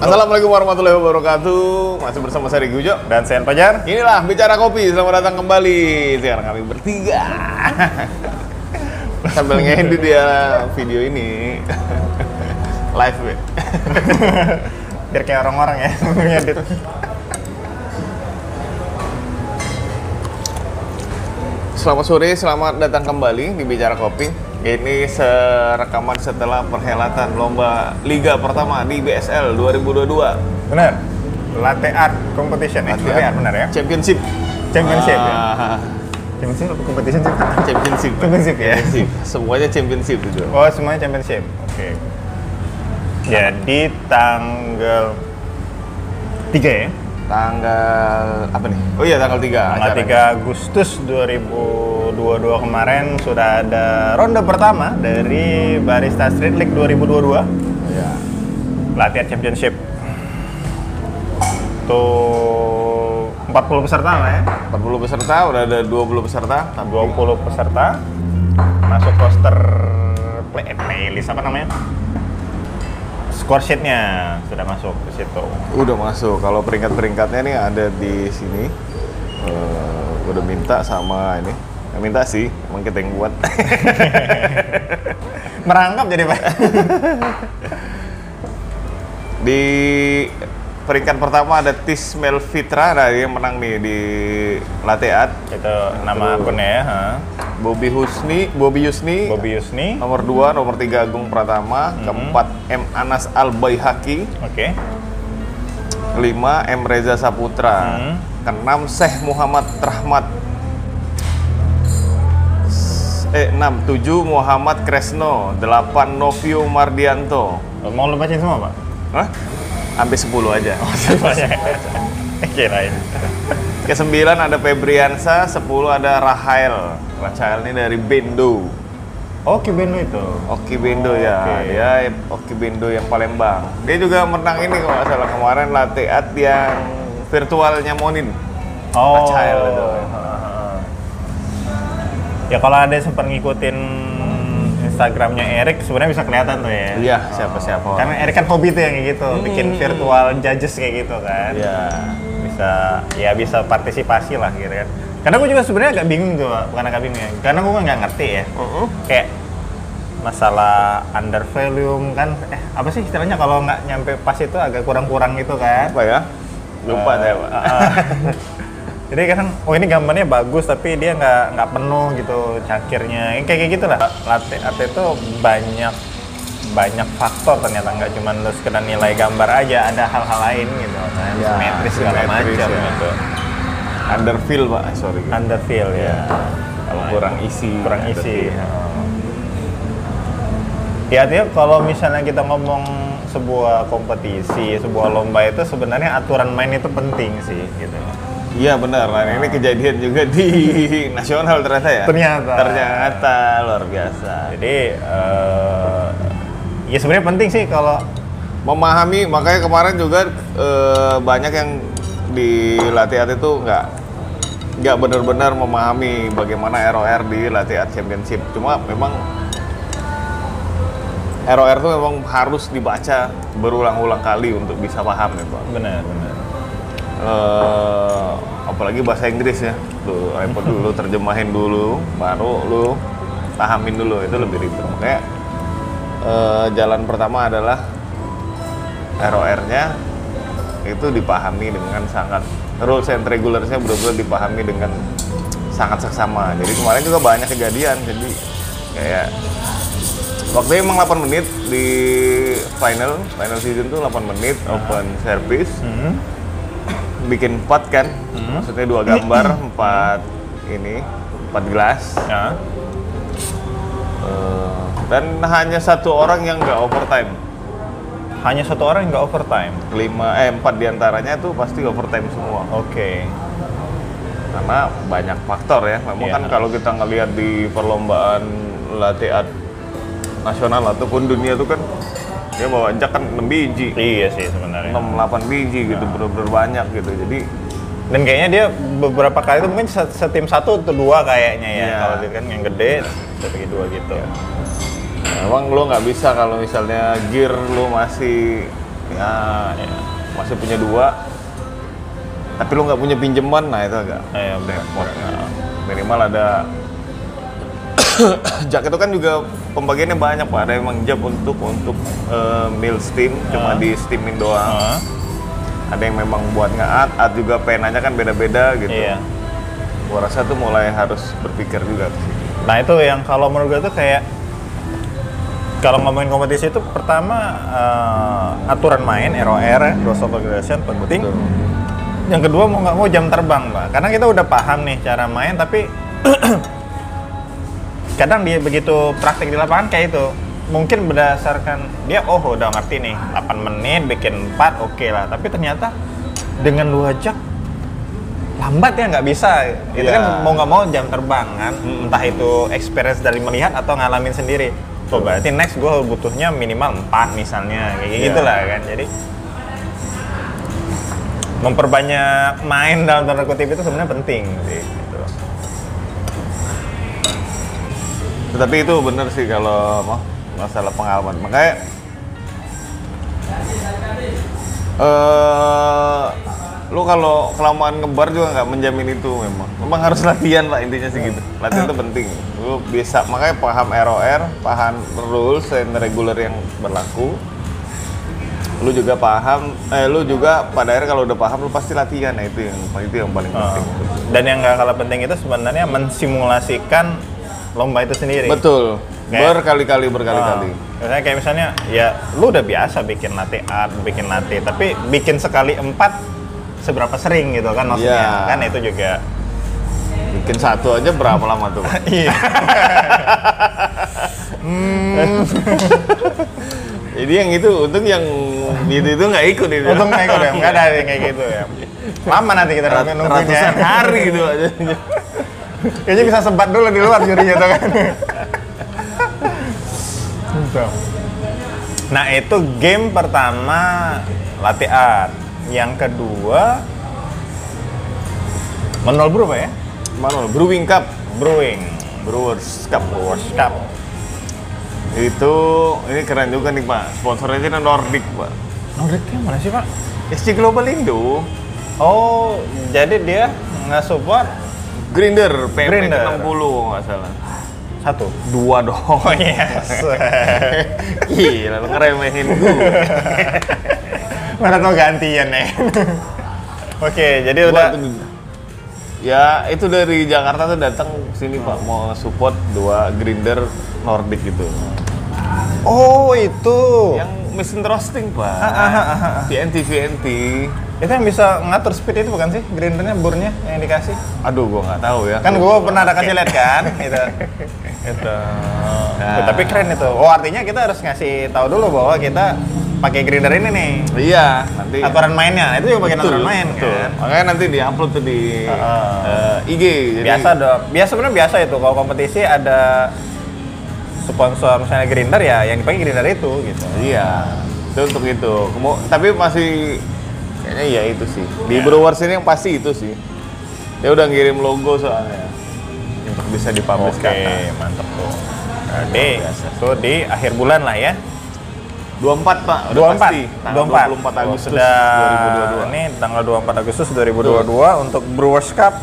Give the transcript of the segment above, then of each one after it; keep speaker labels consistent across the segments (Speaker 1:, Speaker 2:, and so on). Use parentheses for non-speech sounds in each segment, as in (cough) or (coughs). Speaker 1: Assalamualaikum warahmatullahi wabarakatuh. Masih bersama saya Riki Ujo.
Speaker 2: Dan Sen Pajar.
Speaker 1: Inilah bicara kopi. Selamat datang kembali. Sekarang kami bertiga. (laughs) Sambil ngedit dia video ini. (laughs) Live ya.
Speaker 2: Biar kayak orang-orang ya (laughs) ngedit.
Speaker 1: Selamat sore, selamat datang kembali di Bicara Kopi. Ini serekaman setelah perhelatan lomba Liga pertama di BSL 2022.
Speaker 2: Bener. Latte art competition ya. Latte art bener ya.
Speaker 1: Championship.
Speaker 2: Championship ya.
Speaker 1: Ah,
Speaker 2: Championship apa competition sih?
Speaker 1: Championship.
Speaker 2: Championship ya?
Speaker 1: Championship. Semuanya championship itu.
Speaker 2: Oh semuanya championship. Oke. Jadi tanggal 3 ya.
Speaker 1: Tanggal apa nih? Oh iya tanggal 3.
Speaker 2: Tanggal 3 Agustus 2022 kemarin sudah ada ronde pertama dari Barista Street League
Speaker 1: 3.
Speaker 2: 2022.
Speaker 1: Ya.
Speaker 2: latihan championship tuh 40 peserta lah ya
Speaker 1: 40 peserta, udah ada 20 peserta.
Speaker 2: 20 peserta masuk roster play, eh, playlist apa namanya score sheetnya sudah masuk ke situ
Speaker 1: Udah masuk. Kalau peringkat-peringkatnya nih ada di sini. Eh, udah minta sama ini. Nggak minta sih, emang kita yang buat. (laughs)
Speaker 2: merangkap jadi pak
Speaker 1: di peringkat pertama ada Tismel Fitra, nah dia menang nih di Lateat.
Speaker 2: itu nama akunnya ya ha.
Speaker 1: Bobby Husni, Bobby Yusni,
Speaker 2: Bobby Mhm. Yusni oke
Speaker 1: nomor 2, nomor 3 Agung Pratama, keempat M Anas Al Baihaki, kelima M Reza Saputra,
Speaker 2: Mhm.
Speaker 1: keenam Syekh Muhammad Rahmat, S- eh enam tujuh Muhammad Kresno, delapan Novio Mardianto,
Speaker 2: mau lu bacain semua (laughs) pak
Speaker 1: Hah? Sampai 10
Speaker 2: (laughs)
Speaker 1: aja.
Speaker 2: semuanya kirain
Speaker 1: Ke sembilan ada Febriansa, 10 ada Rahael. Rahael ini dari Bendo.
Speaker 2: oke Beno Oh, itu
Speaker 1: Oki Bendo
Speaker 2: Oh,
Speaker 1: ya,
Speaker 2: oke.
Speaker 1: dia Oki Bendo yang Palembang. Dia juga menang ini kalau nggak salah kemarin lateat yang virtualnya Monin.
Speaker 2: Oh.
Speaker 1: Agile itu.
Speaker 2: Ya kalau ada yang sempat ngikutin Instagramnya Erik sebenarnya bisa kelihatan tuh ya.
Speaker 1: Iya, siapa-siapa. Hmm.
Speaker 2: Oh. Karena Erik kan hobi tuh yang kayak gitu, bikin virtual judges kayak gitu kan.
Speaker 1: Ya.
Speaker 2: Bisa ya bisa partisipasi lah gitu kan. Karena gue juga sebenarnya agak bingung tuh, Pak. bukan agak bingung ya. Karena gue nggak ngerti ya. Kayak masalah under volume kan eh apa sih istilahnya kalau nggak nyampe pas itu agak kurang-kurang gitu kan.
Speaker 1: Apa ya? Lupa saya, Pak.
Speaker 2: Ah, (laughs) Jadi kan, oh ini gambarnya bagus tapi dia nggak nggak penuh gitu cangkirnya, Ini kayak kayak gitulah. Latte arte itu banyak banyak faktor ternyata nggak cuma lu sekedar nilai gambar aja, ada hal-hal lain gitu, kan.
Speaker 1: Ya,
Speaker 2: simetris segala
Speaker 1: simetris,
Speaker 2: macam
Speaker 1: ya.
Speaker 2: gitu.
Speaker 1: Underfill, Pak. Sorry.
Speaker 2: Underfill ya,
Speaker 1: Kalau kurang isi.
Speaker 2: kurang isi.
Speaker 1: underfill.
Speaker 2: Ya artinya kalau misalnya kita ngomong sebuah kompetisi, sebuah lomba itu sebenarnya aturan main itu penting sih gitu.
Speaker 1: Iya benar. Nah, ini kejadian juga di (laughs) nasional ternyata ya.
Speaker 2: Ternyata.
Speaker 1: Ternyata luar biasa.
Speaker 2: Jadi eh, ya sebenarnya penting sih kalau
Speaker 1: Memahami makanya kemarin juga eh, banyak yang di latihan itu nggak nggak benar-benar memahami bagaimana ROR di latihan championship. Cuma memang ROR itu memang harus dibaca berulang-ulang kali untuk bisa paham ya, Pak.
Speaker 2: benar benar.
Speaker 1: eh apalagi bahasa Inggris ya lu repot dulu terjemahin dulu baru lu pahamin dulu itu lebih ribet makanya eh, jalan pertama adalah ROR-nya itu dipahami dengan sangat rules and regulars-nya benar-benar dipahami dengan sangat seksama jadi kemarin juga banyak kejadian jadi kayak waktu emang 8 menit di final final season tuh 8 menit open service
Speaker 2: Hmm?
Speaker 1: bikin empat kan maksudnya dua gambar empat ini empat gelas
Speaker 2: Ya.
Speaker 1: Eh, dan hanya satu orang yang nggak overtime
Speaker 2: Hanya satu orang yang nggak overtime.
Speaker 1: lima eh empat diantaranya tuh pasti overtime semua
Speaker 2: Oke.
Speaker 1: karena banyak faktor ya memang
Speaker 2: Iya.
Speaker 1: kan kalau kita ngelihat di perlombaan latihan nasional ataupun dunia tuh kan dia bawa injak kan 6 biji
Speaker 2: Iya sih sebenarnya.
Speaker 1: 6 8 biji gitu bener-bener banyak gitu jadi
Speaker 2: Dan kayaknya dia beberapa kali itu mungkin se- setim satu atau dua kayaknya ya.
Speaker 1: Iya.
Speaker 2: Kalau dia kan yang gede tapi dua gitu.
Speaker 1: Emang lo nggak bisa kalau misalnya gear lo masih ya, ya, masih punya dua tapi lo nggak punya pinjaman nah itu agak
Speaker 2: Eh, berat,
Speaker 1: repot
Speaker 2: berat.
Speaker 1: Nah, minimal ada (coughs) Jak itu kan juga pembagiannya banyak pak ada emang jab untuk untuk eh, meal steam cuma
Speaker 2: Ah.
Speaker 1: di steamin doang
Speaker 2: Heeh.
Speaker 1: ada yang memang buat ngeat at juga penanya kan beda-beda gitu
Speaker 2: Iya.
Speaker 1: gua rasa tuh mulai harus berpikir juga ke situ.
Speaker 2: Nah itu yang kalau menurut gue tuh kayak kalau ngomongin kompetisi itu pertama eh, aturan main ROR ya, rules of regulation penting.
Speaker 1: Betul.
Speaker 2: Yang kedua mau nggak mau jam terbang pak, karena kita udah paham nih cara main tapi kadang dia begitu praktik di lapangan kayak itu mungkin berdasarkan dia oh udah ngerti nih 8 menit bikin 4 oke lah tapi ternyata dengan dua jam lambat ya nggak bisa itu
Speaker 1: Iya. Hmm.
Speaker 2: kan mau nggak mau jam terbang kan entah itu experience dari melihat atau ngalamin sendiri oh berarti next gue butuhnya minimal 4 misalnya kayak
Speaker 1: Iya.
Speaker 2: gitu lah kan jadi memperbanyak main dalam tanda kutip itu sebenarnya penting sih gitu.
Speaker 1: Tetapi itu bener sih kalau apa, masalah pengalaman. Makanya eh lu kalau kelamaan ngebar juga nggak menjamin itu memang. Memang harus latihan lah intinya sih gitu. Latihan itu penting. Lu bisa makanya paham ROR, paham rules and regular yang berlaku. Lu juga paham, eh lu juga pada akhirnya kalau udah paham lu pasti latihan ya itu yang itu yang paling penting.
Speaker 2: Dan yang gak kalah penting itu sebenarnya mensimulasikan lomba itu sendiri.
Speaker 1: Betul.
Speaker 2: Kayak-
Speaker 1: Berkali-kali berkali-kali.
Speaker 2: Ah, misalnya kayak misalnya ya lu udah biasa bikin latte art, bikin latte, tapi bikin sekali empat seberapa sering gitu kan maksudnya
Speaker 1: Iya.
Speaker 2: kan itu
Speaker 1: (laughs)
Speaker 2: juga
Speaker 1: Bikin satu aja berapa lama tuh? Pak?
Speaker 2: iya
Speaker 1: Jadi yang itu untung yang itu itu nggak ikut itu.
Speaker 2: untung kayak gitu ya nggak ada yang kayak gitu ya lama nanti kita
Speaker 1: Iya. Rat-
Speaker 2: nungguin nungguin ya
Speaker 1: ratusan hari (laughs) gitu aja.
Speaker 2: kayaknya bisa sempat dulu di luar jurinya tuh kan Gitu. nah itu game pertama latte art yang kedua menol berubah ya
Speaker 1: Mana Brewing Cup,
Speaker 2: brewing
Speaker 1: Brewers Cup.
Speaker 2: Brewers Cup
Speaker 1: Itu ini keren juga nih Pak. Sponsornya itu Nordic Pak.
Speaker 2: Nordicnya mana sih pak?
Speaker 1: SC Global Indo,
Speaker 2: oh jadi dia nggak support
Speaker 1: Grinder, PM
Speaker 2: Grinder.
Speaker 1: 60 nggak salah.
Speaker 2: satu
Speaker 1: Dua dong.
Speaker 2: oh yes
Speaker 1: (laughs)
Speaker 2: (laughs)
Speaker 1: Gila, lu ngeremehin gue.
Speaker 2: mana tau gantian nih (laughs) oke jadi udah
Speaker 1: Ya, itu dari Jakarta tuh datang sini Pak mau support dua grinder Nordic gitu.
Speaker 2: oh itu
Speaker 1: Yang mesin roasting, Pak.
Speaker 2: Ah,
Speaker 1: VNT VNT.
Speaker 2: itu yang bisa ngatur speed itu bukan sih grindernya burnya yang dikasih
Speaker 1: Aduh, gua nggak tahu ya.
Speaker 2: kan gue pernah ada kasih lihat kan itu itu
Speaker 1: Nah.
Speaker 2: tapi keren itu oh artinya kita harus ngasih tahu dulu bahwa kita pakai grinder ini nih
Speaker 1: Iya, nanti
Speaker 2: aturan mainnya itu juga bagian aturan main
Speaker 1: betul.
Speaker 2: kan
Speaker 1: Makanya nanti di-upload tuh di
Speaker 2: Heeh.
Speaker 1: eh, IG. Jadi
Speaker 2: biasa dong biasa sebenarnya biasa itu kalau kompetisi ada sponsor misalnya grinder ya yang dipakai grinder itu gitu
Speaker 1: Iya. Itu untuk itu. Kemu- tapi masih kayaknya ya itu sih. Di Brewers ini yang pasti itu sih. Dia udah ngirim logo soalnya. Untuk bisa dipublish kan. kata.
Speaker 2: mantep tuh jadi itu di akhir bulan lah ya
Speaker 1: 24 Pak, udah
Speaker 2: 24
Speaker 1: pasti. Tanggal 24 Agustus
Speaker 2: Oh, sudah
Speaker 1: 2022.
Speaker 2: ini tanggal 24 Agustus 2022 untuk Brewers Cup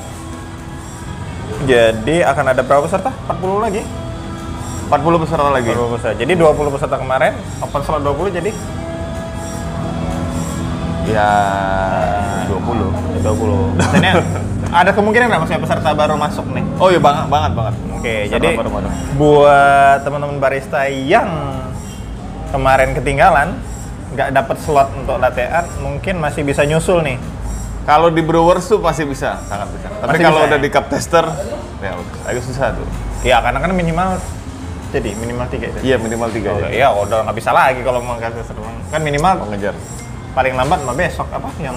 Speaker 2: jadi akan ada berapa peserta? 40 lagi?
Speaker 1: 40 peserta lagi.
Speaker 2: 40 peserta. Jadi 20 peserta kemarin, open slot 20 jadi
Speaker 1: Ya 20.
Speaker 2: 20. Nah, (laughs) Maksudnya ada kemungkinan nggak maksudnya peserta baru masuk nih?
Speaker 1: Oh iya banget banget banget.
Speaker 2: Oke,
Speaker 1: Peserta
Speaker 2: jadi
Speaker 1: baru-baru.
Speaker 2: buat teman-teman barista yang kemarin ketinggalan nggak dapat slot untuk latte art, mungkin masih bisa nyusul nih.
Speaker 1: Kalau di Brewers tuh pasti bisa, sangat bisa. Tapi
Speaker 2: Masih
Speaker 1: kalau
Speaker 2: bisa,
Speaker 1: udah
Speaker 2: ya?
Speaker 1: di cup tester, ya udah, agak susah tuh.
Speaker 2: Ya karena kan minimal jadi minimal tiga itu.
Speaker 1: Iya minimal tiga
Speaker 2: Oh,
Speaker 1: aja.
Speaker 2: iya, udah nggak bisa lagi kalau mau kasih seruan. Kan minimal
Speaker 1: Mengejar.
Speaker 2: paling lambat mah besok apa yang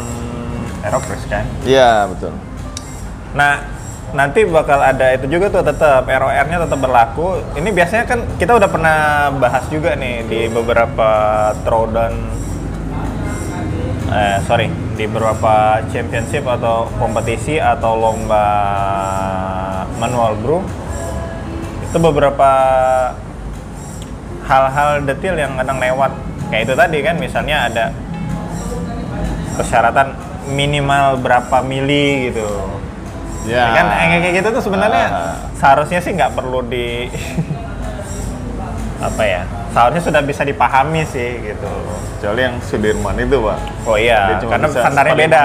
Speaker 2: Aeropress kan.
Speaker 1: Iya betul.
Speaker 2: Nah, nanti bakal ada itu juga tuh tetap ROR-nya tetap berlaku. Ini biasanya kan kita udah pernah bahas juga nih di beberapa throwdown eh sorry, di beberapa championship atau kompetisi atau lomba manual brew itu beberapa hal-hal detail yang kadang lewat kayak itu tadi kan misalnya ada persyaratan minimal berapa mili gitu
Speaker 1: Ya.
Speaker 2: Ya kan yang kayak gitu tuh sebenarnya
Speaker 1: Ah.
Speaker 2: seharusnya sih nggak perlu di (laughs) apa ya seharusnya sudah bisa dipahami sih gitu
Speaker 1: Kecuali yang Sudirman itu, Pak.
Speaker 2: oh
Speaker 1: Dia
Speaker 2: iya
Speaker 1: cuma
Speaker 2: karena
Speaker 1: bisa
Speaker 2: standarnya
Speaker 1: seper
Speaker 2: beda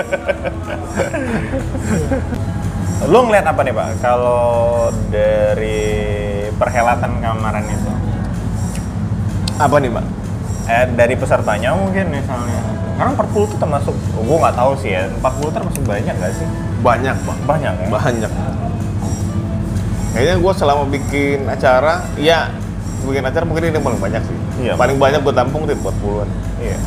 Speaker 2: (laughs) lu ngeliat apa nih pak kalau dari perhelatan kemarin itu
Speaker 1: Apa nih, Pak?
Speaker 2: eh, dari pesertanya mungkin misalnya karena 40 tuh termasuk oh, gue nggak tahu sih ya 40 termasuk banyak nggak sih
Speaker 1: Banyak, Pak.
Speaker 2: banyak ya
Speaker 1: Banyak. Kayaknya gue selama bikin acara, ya bikin acara mungkin ini yang paling banyak sih.
Speaker 2: Iya.
Speaker 1: Paling banyak gue tampung di 40-an.
Speaker 2: iya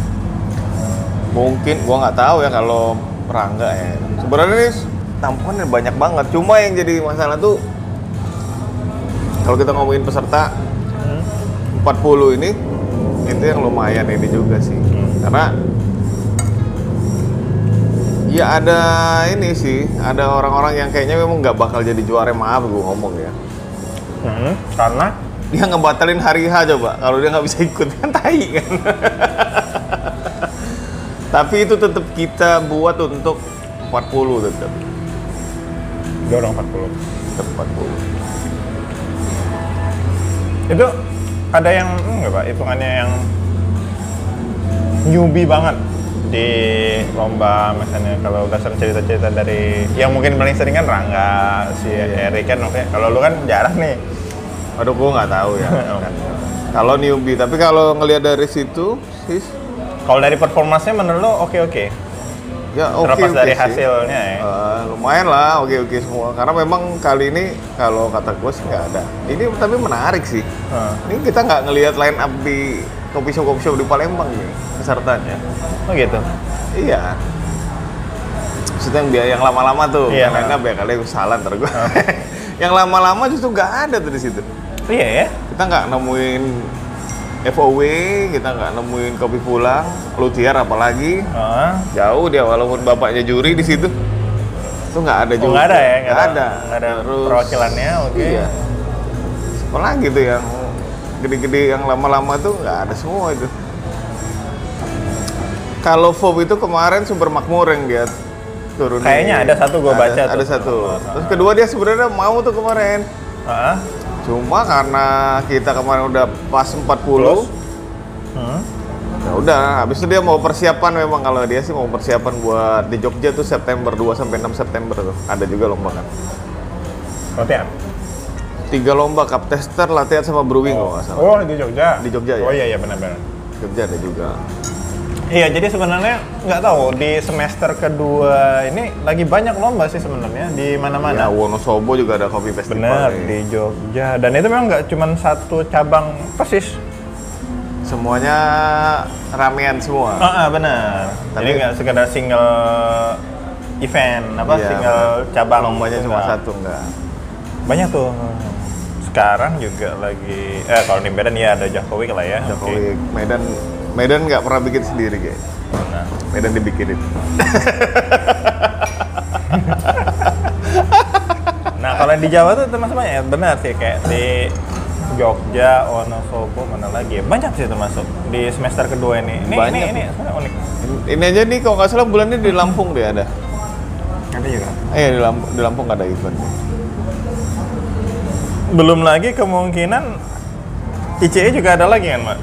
Speaker 1: Mungkin gue nggak tahu ya kalau Rangga ya. Sebenarnya ini tampungannya banyak banget. Cuma yang jadi masalah tuh kalau kita ngomongin peserta
Speaker 2: Hmm.
Speaker 1: 40 ini itu yang lumayan ini juga sih
Speaker 2: Hmm.
Speaker 1: karena ya ada ini sih ada orang-orang yang kayaknya memang nggak bakal jadi juara maaf gue ngomong ya
Speaker 2: Hmm, karena
Speaker 1: dia ngebatalin hari H coba kalau dia nggak bisa ikut kan tai kan tapi itu tetap kita buat untuk 40 tetap
Speaker 2: dorong 40
Speaker 1: tetap 40
Speaker 2: itu ada yang enggak pak hitungannya yang newbie banget di lomba misalnya kalau dasar cerita-cerita dari yang mungkin paling sering kan Rangga si
Speaker 1: Iya,
Speaker 2: Erik kan oke kalau lu kan jarang nih
Speaker 1: aduh gue nggak tahu ya kalau newbie tapi kalau ngelihat dari situ sih
Speaker 2: (laughs) kalau dari performansnya menurut lu oke oke
Speaker 1: ya oke
Speaker 2: terlepas
Speaker 1: oke
Speaker 2: dari
Speaker 1: sih.
Speaker 2: hasilnya ya
Speaker 1: Eh, lumayan lah oke oke semua karena memang kali ini kalau kata gue sih nggak ada ini tapi menarik sih
Speaker 2: Heeh.
Speaker 1: ini kita nggak ngelihat line up di kopi shop kopi shop di Palembang nih pesertanya
Speaker 2: oh gitu
Speaker 1: iya maksudnya yang biaya yang lama-lama tuh
Speaker 2: Iya.
Speaker 1: yang line up ya kali salah ntar gue (laughs) yang lama-lama justru nggak ada tuh di situ
Speaker 2: iya ya
Speaker 1: kita nggak nemuin FOW kita nggak nemuin kopi pulang Lutiar apalagi
Speaker 2: Heeh.
Speaker 1: jauh dia walaupun bapaknya juri di situ itu nggak ada
Speaker 2: Oh,
Speaker 1: juga
Speaker 2: nggak ada ya
Speaker 1: nggak ada
Speaker 2: nggak ada perwakilannya oke
Speaker 1: iya sekolah gitu yang gede-gede yang lama-lama tuh nggak ada semua itu kalau FOB itu kemarin sumber makmur yang dia turun
Speaker 2: Kayaknya ada satu gua baca tuh.
Speaker 1: ada satu terus kedua dia sebenarnya mau tuh kemarin
Speaker 2: Heeh.
Speaker 1: cuma karena kita kemarin udah pas 40
Speaker 2: Terus? Hmm.
Speaker 1: Ya udah, habis itu dia mau persiapan memang kalau dia sih mau persiapan buat di Jogja tuh September 2 sampai 6 September tuh. Ada juga lomba kan.
Speaker 2: latihan
Speaker 1: Tiga lomba cup tester, latihan sama brewing kalau nggak salah.
Speaker 2: oh di Jogja
Speaker 1: Di Jogja ya?
Speaker 2: oh iya iya benar-benar
Speaker 1: Jogja ada juga.
Speaker 2: Iya, jadi sebenarnya nggak tahu di semester kedua ini lagi banyak lomba sih sebenarnya
Speaker 1: Ya,
Speaker 2: di mana-mana.
Speaker 1: Wonosobo juga ada kopi
Speaker 2: Iya,
Speaker 1: festival.
Speaker 2: Bener
Speaker 1: nih.
Speaker 2: di Jogja dan itu memang nggak cuma satu cabang persis.
Speaker 1: Semuanya ramean
Speaker 2: Ah
Speaker 1: semua.
Speaker 2: ah, bener. Jadi
Speaker 1: Tapi-
Speaker 2: nggak sekedar single event apa
Speaker 1: Iya,
Speaker 2: single
Speaker 1: bener.
Speaker 2: cabang.
Speaker 1: Lombanya cuma
Speaker 2: Nggak.
Speaker 1: satu enggak.
Speaker 2: Banyak tuh. Sekarang juga lagi eh kalau di Medan ya ada Jokowi lah ya.
Speaker 1: Kalau
Speaker 2: Oke.
Speaker 1: di Medan Medan nggak pernah bikin sendiri kayak.
Speaker 2: Nah.
Speaker 1: Medan dibikinin.
Speaker 2: Nah kalau di Jawa tuh termasuk banyak, benar sih kayak di Jogja, Wonosobo, mana lagi ya? banyak sih termasuk di semester kedua ini. Ini
Speaker 1: Banyak.
Speaker 2: ini ini sebenarnya unik.
Speaker 1: Ini aja nih kalau nggak salah bulan ini di Lampung dia ada.
Speaker 2: Ada juga.
Speaker 1: Eh di Lampung, di Lampung nggak ada event.
Speaker 2: Belum lagi kemungkinan ICE juga ada lagi kan, Mak?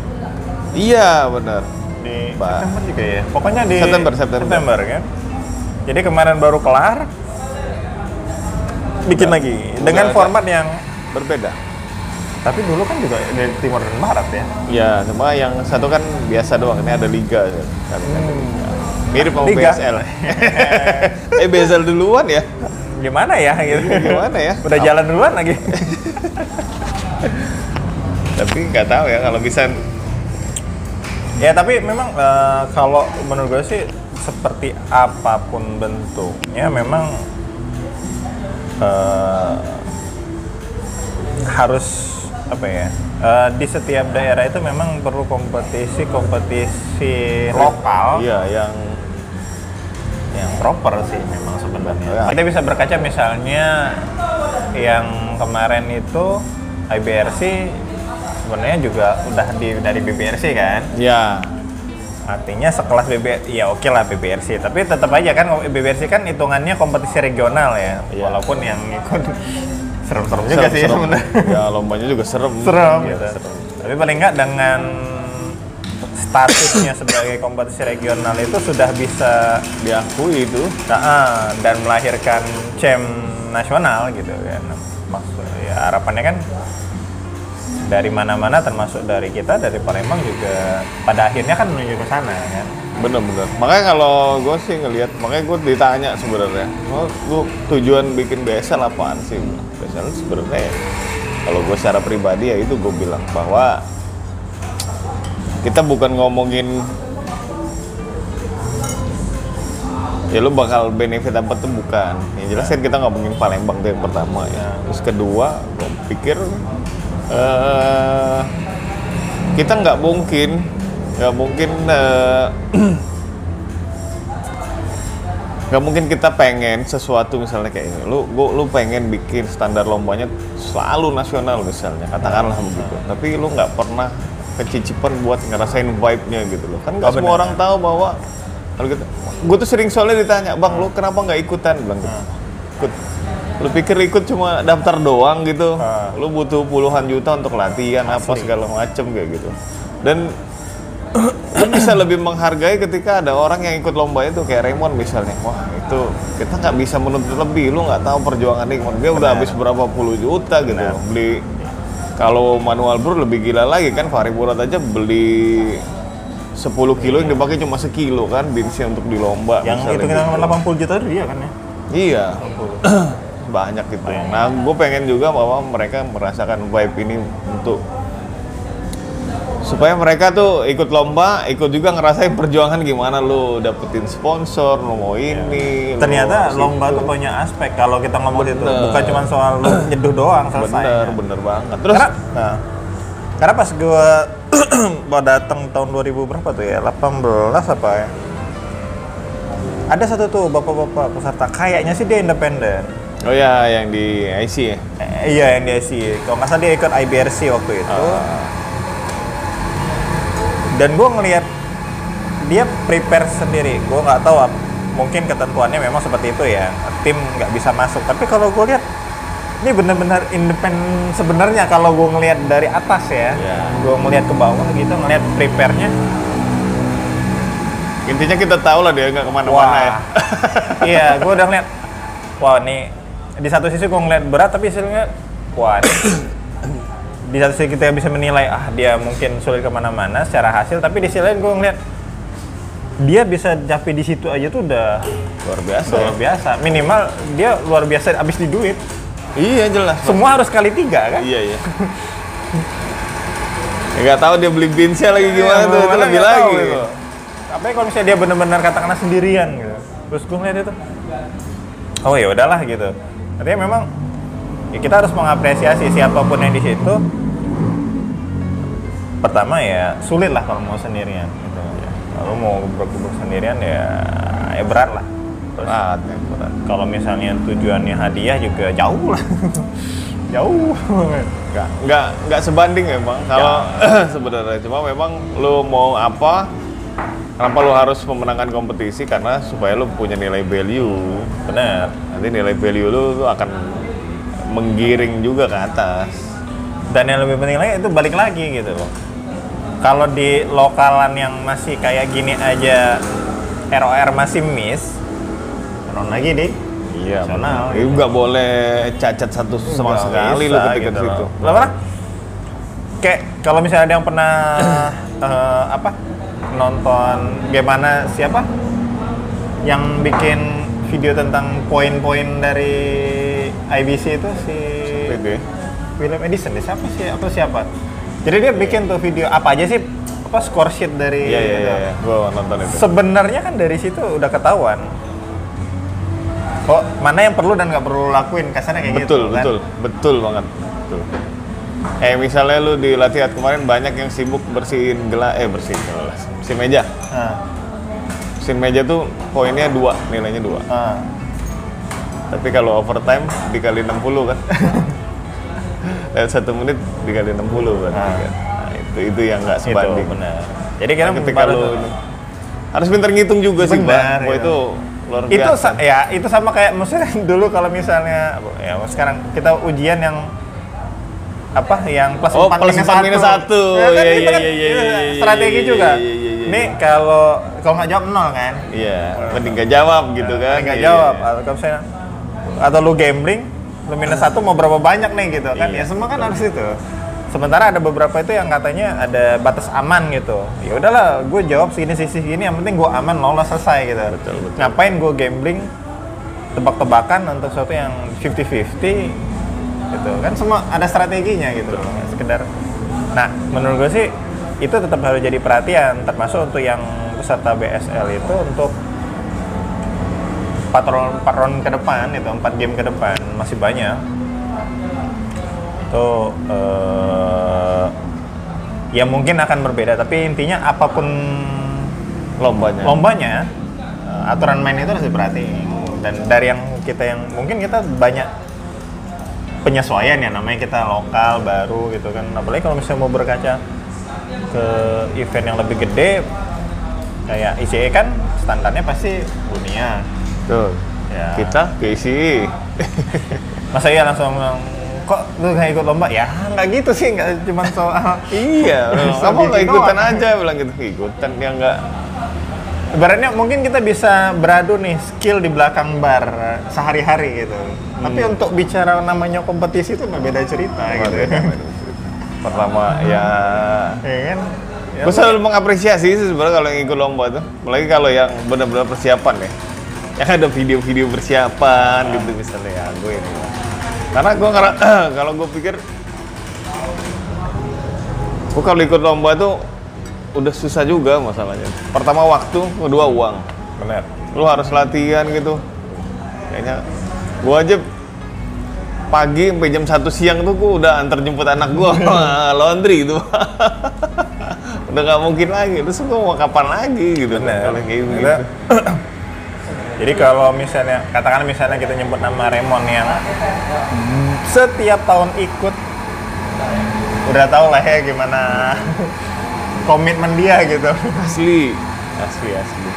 Speaker 1: Iya benar.
Speaker 2: Di
Speaker 1: Ba-
Speaker 2: September juga ya. Pokoknya di
Speaker 1: September, September.
Speaker 2: kan. Jadi kemarin baru kelar bikin
Speaker 1: Udah-
Speaker 2: lagi
Speaker 1: udah
Speaker 2: dengan
Speaker 1: ada.
Speaker 2: format yang
Speaker 1: Berbeda.
Speaker 2: tapi dulu kan juga dari timur dan barat ya.
Speaker 1: Ya, cuma yang satu kan biasa doang. Ini ada liga kan. Kan ada liga. Mirip sama
Speaker 2: Hmm. Liga. (laughs)
Speaker 1: BSL. eh BSL duluan ya.
Speaker 2: Gimana ya gitu.
Speaker 1: Gimana ya?
Speaker 2: Udah jalan duluan lagi.
Speaker 1: Tapi nggak tahu ya kalau bisa
Speaker 2: Ya tapi memang eh, kalau menurut gue sih seperti apapun bentuknya memang eh, harus apa ya eh, di setiap daerah itu memang perlu kompetisi kompetisi lokal
Speaker 1: Iya, yang
Speaker 2: yang proper sih memang
Speaker 1: Ya.
Speaker 2: sebenarnya. Kita bisa berkaca misalnya yang kemarin itu IBRC sebenarnya juga udah di dari BBRC kan
Speaker 1: ya
Speaker 2: Artinya sekelas BBR, ya oke lah BBRC, tapi tetap aja kan BBRC kan hitungannya kompetisi regional ya,
Speaker 1: Iya.
Speaker 2: walaupun yang ikut (laughs) serem-serem juga sih
Speaker 1: Serem-serem.
Speaker 2: sebenarnya.
Speaker 1: ya lombanya juga serem
Speaker 2: Serem
Speaker 1: Iya,
Speaker 2: gitu.
Speaker 1: serem.
Speaker 2: Tapi paling nggak dengan statusnya sebagai kompetisi regional itu sudah bisa
Speaker 1: diakui itu
Speaker 2: Nah, dan melahirkan champ nasional gitu kan. Maksud ya harapannya kan dari mana-mana termasuk dari kita dari Palembang juga pada akhirnya kan menuju ke sana kan.
Speaker 1: bener-bener makanya kalau gue sih ngelihat makanya gue ditanya sebenarnya oh, lu tujuan bikin BSL apaan sih BSL sebenarnya ya, kalau gue secara pribadi ya itu gue bilang bahwa kita bukan ngomongin ya lu bakal benefit apa tuh bukan yang jelas kan kita ngomongin Palembang tuh yang pertama
Speaker 2: Iya.
Speaker 1: ya terus kedua gue pikir eh kita nggak mungkin nggak mungkin eh, (clears throat) nggak mungkin kita pengen sesuatu misalnya kayak ini lu gua, lu pengen bikin standar lombanya selalu nasional misalnya katakanlah begitu tapi lu nggak pernah kecicipan buat ngerasain vibe-nya gitu loh kan nggak
Speaker 2: Oh,
Speaker 1: semua
Speaker 2: benar.
Speaker 1: orang tahu bahwa kalau gitu gue tuh sering soalnya ditanya bang lu kenapa nggak ikutan bilang gitu. ikut lu pikir ikut cuma daftar doang gitu
Speaker 2: Ah.
Speaker 1: lu butuh puluhan juta untuk latihan apa segala macem kayak gitu dan lu Kan bisa lebih menghargai ketika ada orang yang ikut lomba itu kayak Raymond misalnya wah itu kita nggak bisa menuntut lebih lu nggak tahu perjuangan Raymond dia udah habis berapa puluh juta gitu
Speaker 2: Benar.
Speaker 1: beli kalau manual bro lebih gila lagi kan Fariburat aja beli 10 kilo yang dipakai cuma sekilo kan bensin untuk di lomba misalnya
Speaker 2: Yang itu kita
Speaker 1: gitu.
Speaker 2: 80 juta itu dia kan ya.
Speaker 1: Iya. (clears throat) Banyak
Speaker 2: Oh,
Speaker 1: gitu.
Speaker 2: iya.
Speaker 1: Nah, gue pengen juga bahwa mereka merasakan vibe ini untuk supaya mereka tuh ikut lomba, ikut juga ngerasain perjuangan gimana lu dapetin sponsor, lu mau ini. lu
Speaker 2: Iya. Ternyata
Speaker 1: mau
Speaker 2: lomba tuh punya aspek kalau kita ngomong itu
Speaker 1: Bener.
Speaker 2: bukan cuma soal lu nyeduh doang
Speaker 1: situ.
Speaker 2: selesai. ya.
Speaker 1: bener, bener banget. Terus
Speaker 2: Karena-
Speaker 1: nah,
Speaker 2: Karena pas gua (clears throat) mau datang tahun 2000 berapa tuh ya? 18 apa ya? Ada satu tuh bapak-bapak peserta kayaknya sih dia independen.
Speaker 1: oh ya yang di IC ya.
Speaker 2: Eh, iya yang dia sih. Kalau nggak salah dia ikut IBRC waktu itu. Dan gua ngelihat dia prepare sendiri. Gua nggak tahu ap- mungkin ketentuannya memang seperti itu ya. Tim nggak bisa masuk. Tapi kalau gua lihat ini benar-benar independen sebenarnya kalau gua ngelihat dari atas ya.
Speaker 1: Iya.
Speaker 2: Gua ngelihat ke bawah gitu ngelihat prepare-nya.
Speaker 1: Intinya kita tahu lah dia nggak kemana-mana (laughs) ya.
Speaker 2: Wah. iya, gue udah ngeliat. Wah, nih di satu sisi gue ngeliat berat, tapi hasilnya wah. ini- di satu sisi kita bisa menilai ah dia mungkin sulit kemana-mana secara hasil, tapi di sisi lain gue ngeliat dia bisa capai di situ aja tuh udah
Speaker 1: Luar biasa. ya.
Speaker 2: luar biasa. Minimal dia luar biasa abis di duit.
Speaker 1: Iya jelas.
Speaker 2: Semua harus kali tiga kan?
Speaker 1: Iya iya. Ya, Nggak tahu dia beli binsnya lagi gimana
Speaker 2: Iya,
Speaker 1: tuh, itu
Speaker 2: mana
Speaker 1: lebih
Speaker 2: nggak
Speaker 1: lagi.
Speaker 2: tahu itu. Apalagi kalau misalnya dia benar-benar katakanlah sendirian gitu. Terus gue ngeliat itu, oh ya udahlah gitu. Artinya memang ya kita harus mengapresiasi siapapun yang di situ. Pertama ya sulit lah kalau mau sendirian. Gitu. Kalau mau gebrak-gebrak sendirian ya, ya berat lah. Terus
Speaker 1: Ah, temperan.
Speaker 2: kalau misalnya tujuannya hadiah juga jauh lah, (laughs) jauh. (laughs) banget.
Speaker 1: nggak nggak nggak sebanding emang
Speaker 2: Ya.
Speaker 1: kalau (clears throat) sebenarnya cuma memang lu mau apa kenapa lu harus memenangkan kompetisi karena supaya lu punya nilai value
Speaker 2: Benar.
Speaker 1: nanti nilai value lu, tuh akan menggiring juga ke atas
Speaker 2: dan yang lebih penting lagi itu balik lagi gitu loh kalau di lokalan yang masih kayak gini aja ROR masih miss turun lagi di
Speaker 1: iya
Speaker 2: Nasional,
Speaker 1: benar. Itu nggak boleh cacat satu sama
Speaker 2: gitu. Nggak
Speaker 1: sekali
Speaker 2: bisa
Speaker 1: lu ketika
Speaker 2: gitu
Speaker 1: di situ
Speaker 2: loh. Lah, mana? kayak kalau misalnya ada yang
Speaker 1: (coughs)
Speaker 2: pernah eh, apa nonton gimana siapa yang bikin video tentang poin-poin dari IBC itu si
Speaker 1: Gitu ya.
Speaker 2: William Edison deh siapa sih atau siapa jadi dia bikin tuh video apa aja sih apa score sheet dari
Speaker 1: iya iya iya iya. gua nonton itu
Speaker 2: sebenarnya kan dari situ udah ketahuan kok mana yang perlu dan nggak perlu lakuin kasarnya kayak
Speaker 1: betul
Speaker 2: gitu kan?
Speaker 1: betul betul banget betul eh misalnya lu di latihan kemarin banyak yang sibuk bersihin gelas eh bersihin gelas si meja
Speaker 2: Nah,
Speaker 1: bersihin meja tuh poinnya dua nilainya dua
Speaker 2: nah.
Speaker 1: tapi kalau overtime dikali 60
Speaker 2: (laughs)
Speaker 1: kan dan satu menit dikali 60 berarti
Speaker 2: Ah.
Speaker 1: kan nah, itu itu yang nggak
Speaker 2: itu
Speaker 1: sebanding
Speaker 2: benar jadi
Speaker 1: Nah,
Speaker 2: kira
Speaker 1: ketika lu harus pintar ngitung juga sih
Speaker 2: Benar,
Speaker 1: mbak
Speaker 2: iya.
Speaker 1: Wah, itu luar biasa
Speaker 2: itu sa- ya itu sama kayak maksudnya (laughs) dulu kalau misalnya ya sekarang kita ujian yang apa yang plus
Speaker 1: Oh,
Speaker 2: empat
Speaker 1: plus empat minus satu.
Speaker 2: Ya kan,
Speaker 1: Iya,
Speaker 2: itu
Speaker 1: iya,
Speaker 2: kan
Speaker 1: iya, iya,
Speaker 2: itu
Speaker 1: iya, iya,
Speaker 2: strategi
Speaker 1: iya,
Speaker 2: juga
Speaker 1: iya, iya, iya.
Speaker 2: ini kalau kalau nggak jawab nol kan
Speaker 1: iya mending gak jawab gitu kan
Speaker 2: nggak
Speaker 1: Iya.
Speaker 2: jawab atau kalau misalnya atau lu gambling lu minus satu mau berapa banyak nih gitu kan
Speaker 1: Iya,
Speaker 2: ya semua kan harus itu sementara ada beberapa itu yang katanya ada batas aman gitu ya udahlah gue jawab segini sisi gini yang penting gue aman lolos selesai gitu
Speaker 1: Betul, betul.
Speaker 2: ngapain gue gambling tebak-tebakan untuk sesuatu yang 50-50 gitu kan semua ada strateginya gitu nggak sekedar nah menurut gue sih itu tetap harus jadi perhatian termasuk untuk yang peserta BSL itu untuk empat round, empat round ke depan itu empat game ke depan masih banyak itu eh, ya mungkin akan berbeda tapi intinya apapun
Speaker 1: lombanya
Speaker 2: lombanya eh, aturan main itu harus diperhatiin dan dari yang kita yang mungkin kita banyak penyesuaian ya namanya kita lokal baru gitu kan apalagi kalau misalnya mau berkaca ke event yang lebih gede kayak ICE kan standarnya pasti dunia
Speaker 1: Tuh.
Speaker 2: Ya.
Speaker 1: kita ke isi
Speaker 2: masa iya langsung bilang, kok lu nggak ikut lomba ya nggak gitu sih nggak cuma soal (laughs)
Speaker 1: iya
Speaker 2: Bisa
Speaker 1: kamu nggak
Speaker 2: bikin
Speaker 1: ikutan
Speaker 2: doang.
Speaker 1: aja bilang gitu ikutan ya nggak
Speaker 2: Ibaratnya mungkin kita bisa beradu nih skill di belakang bar eh, sehari-hari gitu. Tapi
Speaker 1: Hmm.
Speaker 2: untuk bicara namanya kompetisi itu mah beda cerita gitu.
Speaker 1: pertama ya
Speaker 2: (laughs) Iya kan? Ya,
Speaker 1: gue selalu mengapresiasi sih sebenarnya kalau yang ikut lomba tuh apalagi kalau yang benar-benar persiapan ya yang ada video-video persiapan gitu misalnya ya gue ini karena gue ngera- (clears throat) kalau gue pikir gue kalau ikut lomba tuh udah susah juga masalahnya pertama waktu kedua uang
Speaker 2: benar.
Speaker 1: lu harus latihan gitu kayaknya gua aja pagi sampai jam 1 siang tuh gua udah antar jemput anak (laughs) gua laundry itu (laughs) udah nggak mungkin lagi terus gua mau kapan lagi gitu kalau kayak gitu
Speaker 2: Benar. (coughs) Jadi kalau misalnya katakan misalnya kita nyebut nama Raymond yang setiap tahun ikut udah tau lah ya gimana (laughs) komitmen dia gitu.
Speaker 1: asli asli asli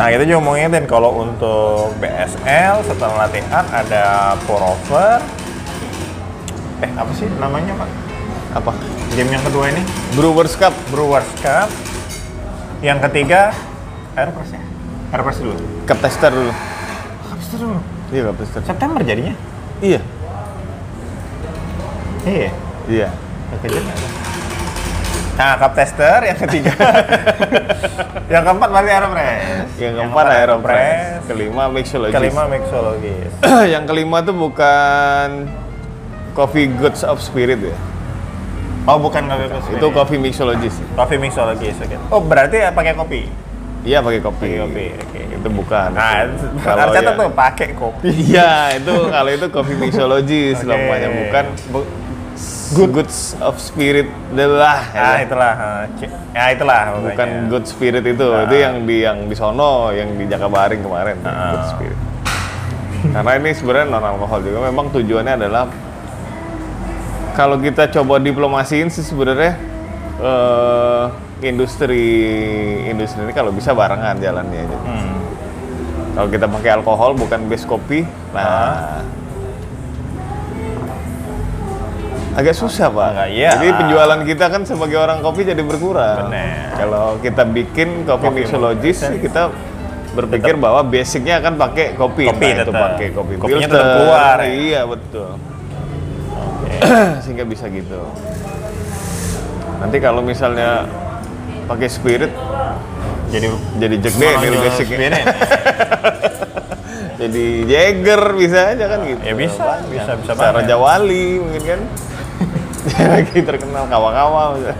Speaker 2: Nah kita juga mau ngingetin kalau untuk BSL setelah latihan ada porover Eh apa sih namanya pak?
Speaker 1: apa
Speaker 2: Game yang kedua ini
Speaker 1: Brewers Cup
Speaker 2: Brewers Cup Yang ketiga Airpress ya? Airpress dulu
Speaker 1: Cup Tester dulu
Speaker 2: Airpress dulu
Speaker 1: iya Cup Tester
Speaker 2: September jadinya?
Speaker 1: iya
Speaker 2: Iya
Speaker 1: iya
Speaker 2: Gak kejar nggak tuh? Nah Cup Tester yang ketiga (laughs) Yang keempat berarti Airpress
Speaker 1: yang keempat Aeropress
Speaker 2: Aeropress.
Speaker 1: kelima Mixologist
Speaker 2: Kelima Mixologis
Speaker 1: (clears throat) yang kelima tuh bukan Coffee Goods of Spirit ya
Speaker 2: Oh bukan Coffee Plus
Speaker 1: itu Coffee Mixologist
Speaker 2: Coffee mixologist, oke. Oh, berarti ya pakai kopi.
Speaker 1: Iya pakai kopi.
Speaker 2: Pakai kopi, oke.
Speaker 1: Itu bukan.
Speaker 2: Nah,
Speaker 1: Kalau
Speaker 2: harus catat
Speaker 1: ya-
Speaker 2: tuh pakai kopi.
Speaker 1: Iya, itu kalau itu kopi mixologis
Speaker 2: Oke.
Speaker 1: namanya bukan bu- goods of spirit ya. adalah
Speaker 2: Nah, itulah. eh, c- Ya, itulah pokoknya.
Speaker 1: bukan good spirit itu.
Speaker 2: Nah.
Speaker 1: Itu yang di yang di sono, yang di Jakabaring kemarin good
Speaker 2: Ah.
Speaker 1: spirit. Karena ini sebenarnya non alkohol juga memang tujuannya adalah kalau kita coba diplomasiin sih sebenarnya eh, industri industri ini kalau bisa barengan jalannya aja.
Speaker 2: Hmm.
Speaker 1: Kalau kita pakai alkohol bukan base kopi, nah
Speaker 2: Ah.
Speaker 1: agak susah
Speaker 2: Agak,
Speaker 1: pak.
Speaker 2: iya.
Speaker 1: Jadi penjualan kita kan sebagai orang kopi jadi berkurang.
Speaker 2: Bener.
Speaker 1: Kalau kita bikin kopi
Speaker 2: Kopi
Speaker 1: mixologis sih kita berpikir bahwa basicnya akan pakai kopi,
Speaker 2: Kopi
Speaker 1: Entah itu
Speaker 2: tetap.
Speaker 1: pakai kopi
Speaker 2: Kopinya tetap keluar, ya.
Speaker 1: Iya betul. (clears throat) Sehingga bisa gitu. Nanti kalau misalnya pakai spirit
Speaker 2: Jadi
Speaker 1: jadi jegde dari
Speaker 2: menonjol
Speaker 1: basicnya.
Speaker 2: spirit.
Speaker 1: ya. (laughs) jadi Jagger bisa aja kan gitu
Speaker 2: Ya bisa, bisa bisa
Speaker 1: bisa
Speaker 2: banget.
Speaker 1: Raja Wali mungkin kan (laughs) Dia lagi terkenal kawa-kawa misalnya.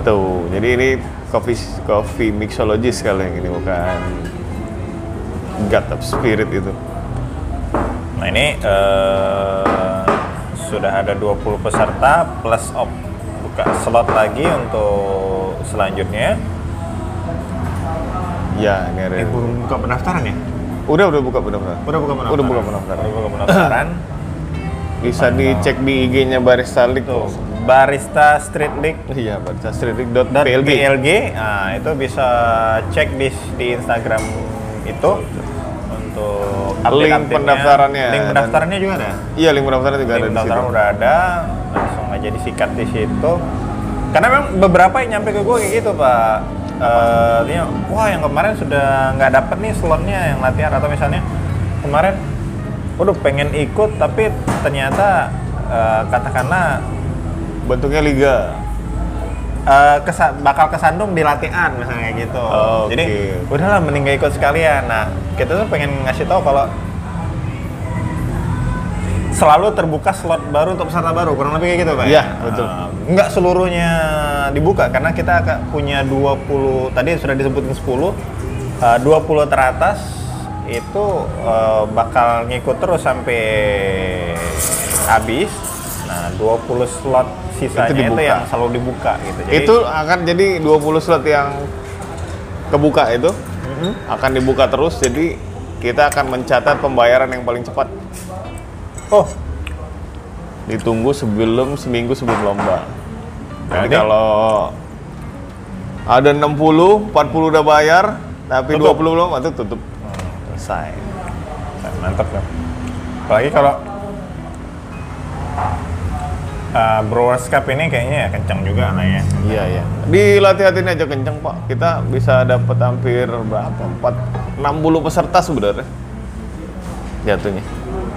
Speaker 1: gitu jadi ini coffee coffee mixologist kalau yang ini bukan God of Spirit itu
Speaker 2: Nah, ini eh, sudah ada 20 peserta plus op buka slot lagi untuk selanjutnya.
Speaker 1: ya ini ada
Speaker 2: belum Eh, buka pendaftaran ya?
Speaker 1: udah udah buka benar-benar
Speaker 2: Udah buka pendaftaran.
Speaker 1: Udah buka pendaftaran.
Speaker 2: Udah buka pendaftaran.
Speaker 1: bisa dicek di IG-nya Barista League
Speaker 2: Tuh, barista street league
Speaker 1: Iya, baca
Speaker 2: dot
Speaker 1: streetweek.plg.
Speaker 2: PLG. Nah, itu bisa cek di di Instagram itu untuk update
Speaker 1: Link pendaftarannya.
Speaker 2: Link
Speaker 1: Dan-
Speaker 2: pendaftarannya juga ada.
Speaker 1: Iya, link pendaftaran juga ada
Speaker 2: Link
Speaker 1: di situ.
Speaker 2: pendaftaran udah ada, langsung aja disikat di situ. Karena memang beberapa yang nyampe ke gue kayak gitu, Pak. Eh, artinya, wah yang kemarin sudah nggak dapet nih slotnya yang latihan atau misalnya kemarin udah pengen ikut tapi ternyata eh, katakanlah
Speaker 1: Bentuknya liga.
Speaker 2: eh, kesa- bakal kesandung di latihan misalnya kayak gitu.
Speaker 1: Oh, oke.
Speaker 2: Jadi udahlah mending gak ikut sekalian. Nah, kita tuh pengen ngasih tahu kalau selalu terbuka slot baru untuk peserta baru kurang lebih kayak gitu pak
Speaker 1: Iya, betul.
Speaker 2: Eh, nggak seluruhnya dibuka karena kita akan punya 20 tadi sudah disebutin 10 eh, 20 teratas itu eh, bakal ngikut terus sampai habis nah 20 slot sisanya itu,
Speaker 1: dibuka.
Speaker 2: yang selalu dibuka gitu
Speaker 1: itu akan jadi 20 slot yang kebuka itu
Speaker 2: Mm-hmm.
Speaker 1: akan dibuka terus jadi kita akan mencatat pembayaran yang paling cepat
Speaker 2: oh
Speaker 1: ditunggu sebelum seminggu sebelum lomba. Jadi
Speaker 2: Berarti-
Speaker 1: kalau ada 60, 40 udah bayar, tapi 20
Speaker 2: Tutup.
Speaker 1: belum, itu tutup.
Speaker 2: selesai mantap ya apalagi kalau eh, Brewers Cup ini kayaknya ya kencang juga anaknya
Speaker 1: Iya, iya. Dilatih-latihin aja kenceng, Pak. Kita bisa dapat hampir berapa? 4, 60 peserta sebenarnya. Jatuhnya.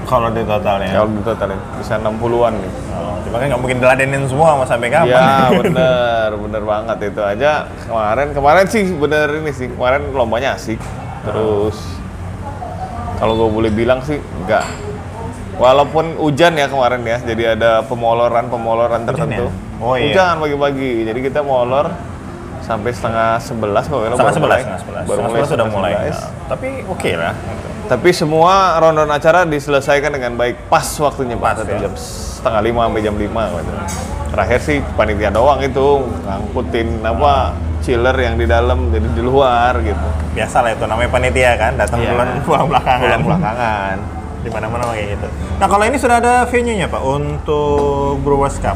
Speaker 2: kalau di totalnya
Speaker 1: Kalau di totalin bisa 60-an nih.
Speaker 2: Oh, cuma kan nggak mungkin diladenin semua mau sampai kapan
Speaker 1: Iya, bener, bener banget itu aja. Kemarin, kemarin sih bener ini sih. Kemarin lombanya asik. Terus kalau gue boleh bilang sih enggak. Walaupun hujan ya kemarin ya, jadi ada pemoloran-pemoloran tertentu.
Speaker 2: ya? Oh, iya.
Speaker 1: Hujan pagi-pagi, jadi kita molor sampai setengah sebelas kalau nggak salah, baru
Speaker 2: setengah sebelas
Speaker 1: mulai.
Speaker 2: setengah sebelas
Speaker 1: Baru
Speaker 2: setengah
Speaker 1: mulai
Speaker 2: sebelas sudah
Speaker 1: setengah
Speaker 2: mulai
Speaker 1: sebelas.
Speaker 2: Nah, tapi oke lah gitu.
Speaker 1: Tapi semua rundown acara diselesaikan dengan baik pas waktunya
Speaker 2: Pas,
Speaker 1: Pak. Satu
Speaker 2: ya.
Speaker 1: jam setengah lima sampai jam lima gitu. Terakhir sih panitia doang itu ngangkutin apa chiller yang di dalam jadi di luar gitu.
Speaker 2: biasa lah itu namanya panitia kan datang
Speaker 1: Iya.
Speaker 2: bulan (laughs) pulang belakangan
Speaker 1: Pulang belakangan.
Speaker 2: di mana mana kayak gitu nah kalau ini sudah ada venue nya pak untuk Brewers Cup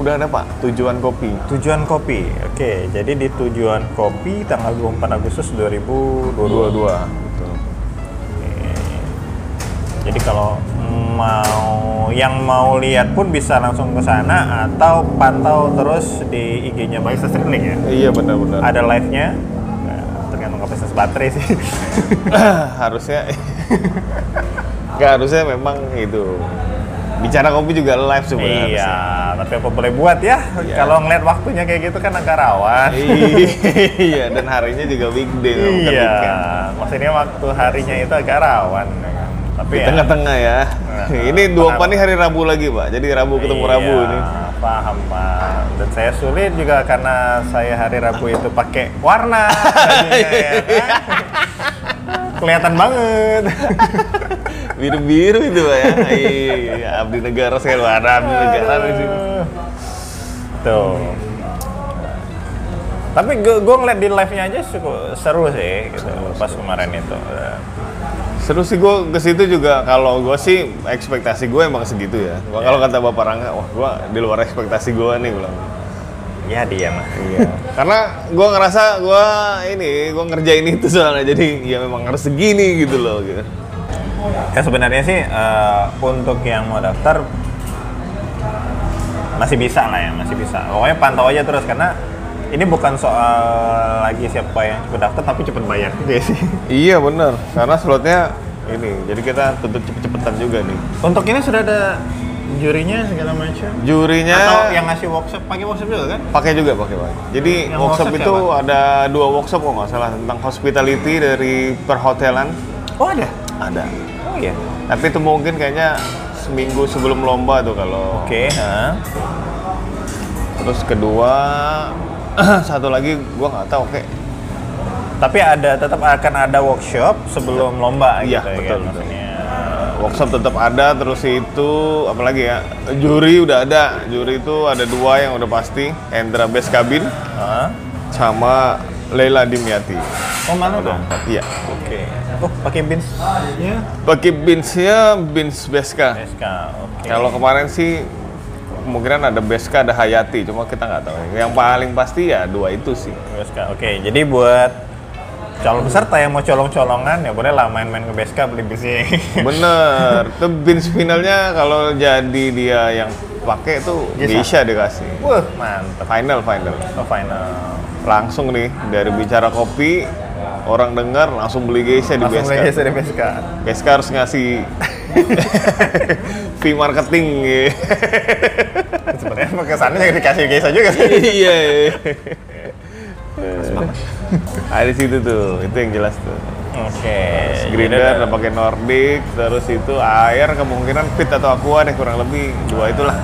Speaker 1: Udah ada Pak tujuan kopi.
Speaker 2: Tujuan Kopi. Oke, jadi di Tujuan Kopi tanggal 24 Agustus 2022.
Speaker 1: Dua-dua. Gitu.
Speaker 2: Jadi kalau mau yang mau lihat pun bisa langsung ke sana atau pantau terus di IG-nya Barista Street Link ya.
Speaker 1: Iya benar-benar.
Speaker 2: Ada live-nya. Nah, tergantung kapasitas baterai
Speaker 1: (laughs)
Speaker 2: sih.
Speaker 1: (clears throat) harusnya (laughs) nggak harusnya memang itu bicara kopi juga live sebenarnya.
Speaker 2: iya, tapi apa boleh buat ya?
Speaker 1: Iya.
Speaker 2: Kalau ngeliat waktunya kayak gitu kan agak rawan. (laughs)
Speaker 1: harusnya. iya dan harinya juga weekday bukan
Speaker 2: iya.
Speaker 1: weekend.
Speaker 2: Maksudnya waktu harinya itu agak rawan ya kan. Tapi
Speaker 1: di
Speaker 2: ya,
Speaker 1: tengah-tengah ya.
Speaker 2: Nah,
Speaker 1: (laughs) ini dua
Speaker 2: paham.
Speaker 1: ini hari Rabu lagi pak, jadi Rabu ketemu Rabu
Speaker 2: Iya,
Speaker 1: ini.
Speaker 2: Paham pak. Dan saya sulit juga karena saya hari Rabu itu pakai warna. bajunya,
Speaker 1: (laughs)
Speaker 2: ya kan? Kelihatan banget.
Speaker 1: Biru-biru itu pak
Speaker 2: (laughs)
Speaker 1: ya. Iya, abdi negara saya lu ada abdi negara di sini.
Speaker 2: Tuh. Tapi gue gue ngeliat di live-nya aja cukup seru sih gitu pas kemarin itu.
Speaker 1: Seru sih gue ke situ juga. Kalau gue sih ekspektasi gue emang segitu ya. Wah, Kalau kata Bapak Rangga, wah gue di luar ekspektasi gue nih bilang.
Speaker 2: Ya dia mah.
Speaker 1: Iya. Karena gue ngerasa gue ini gue ngerjain itu soalnya jadi ya memang harus segini gitu loh. Gitu.
Speaker 2: Ya sebenarnya sih eh, untuk yang mau daftar masih bisa lah ya, masih bisa. Pokoknya pantau aja terus karena ini bukan soal lagi siapa yang cepet daftar tapi cepet bayar juga ya sih.
Speaker 1: Iya bener. Karena slotnya ini jadi kita tutup cepet-cepetan juga nih.
Speaker 2: Untuk ini sudah ada jurinya segala macam.
Speaker 1: Jurinya
Speaker 2: Atau yang ngasih workshop, pakai workshop juga kan?
Speaker 1: pakai juga pakai pakai jadi
Speaker 2: Yang
Speaker 1: workshop,
Speaker 2: workshop
Speaker 1: itu
Speaker 2: siapa?
Speaker 1: ada dua workshop kalau nggak salah tentang hospitality dari perhotelan
Speaker 2: Oh ada.
Speaker 1: ada
Speaker 2: Oh iya.
Speaker 1: tapi itu mungkin kayaknya seminggu sebelum lomba tuh kalau
Speaker 2: Oke. ha.
Speaker 1: terus kedua (clears throat) satu lagi gua nggak tahu oke
Speaker 2: Tapi ada tetap akan ada workshop sebelum lomba
Speaker 1: Iya, betul,
Speaker 2: gitu ya. kan?
Speaker 1: betul.
Speaker 2: Maksudnya.
Speaker 1: workshop tetap ada terus itu apalagi ya juri udah ada juri itu ada dua yang udah pasti Endra Best Cabin
Speaker 2: Ha.
Speaker 1: sama Leila Dimyati
Speaker 2: Oh mana tuh?
Speaker 1: iya
Speaker 2: Oke. Oh pakai bins? Iya.
Speaker 1: bagi binsnya bins Beska
Speaker 2: SK. Oke.
Speaker 1: Kalau kemarin sih kemungkinan ada Beska, ada Hayati, cuma kita nggak tahu. Yang paling pasti ya dua itu (laughs) sih.
Speaker 2: Beska. Oke, jadi buat calon peserta yang mau colong-colongan ya boleh lah main-main ke Beska beli bising.
Speaker 1: Bener, tuh bins finalnya kalau jadi dia yang pakai tuh Geisha
Speaker 2: Geisha.
Speaker 1: dikasih.
Speaker 2: (laughs) Wah, mantap.
Speaker 1: Final, final.
Speaker 2: Oh, final.
Speaker 1: Langsung nih dari bicara kopi, orang dengar langsung beli Geisha di
Speaker 2: Langsung
Speaker 1: Beska.
Speaker 2: lagi dari Beska.
Speaker 1: Beska harus (laughs) ngasih fee marketing. ya.
Speaker 2: Sebenarnya emang kesannya yang dikasih Geisha juga
Speaker 1: (laughs)
Speaker 2: sih.
Speaker 1: Iya. Ada Nah, di situ tuh, itu yang jelas tuh.
Speaker 2: Oke.
Speaker 1: Grinder udah pakai Nordic, terus itu air kemungkinan pit atau aqua deh kurang lebih dua itulah.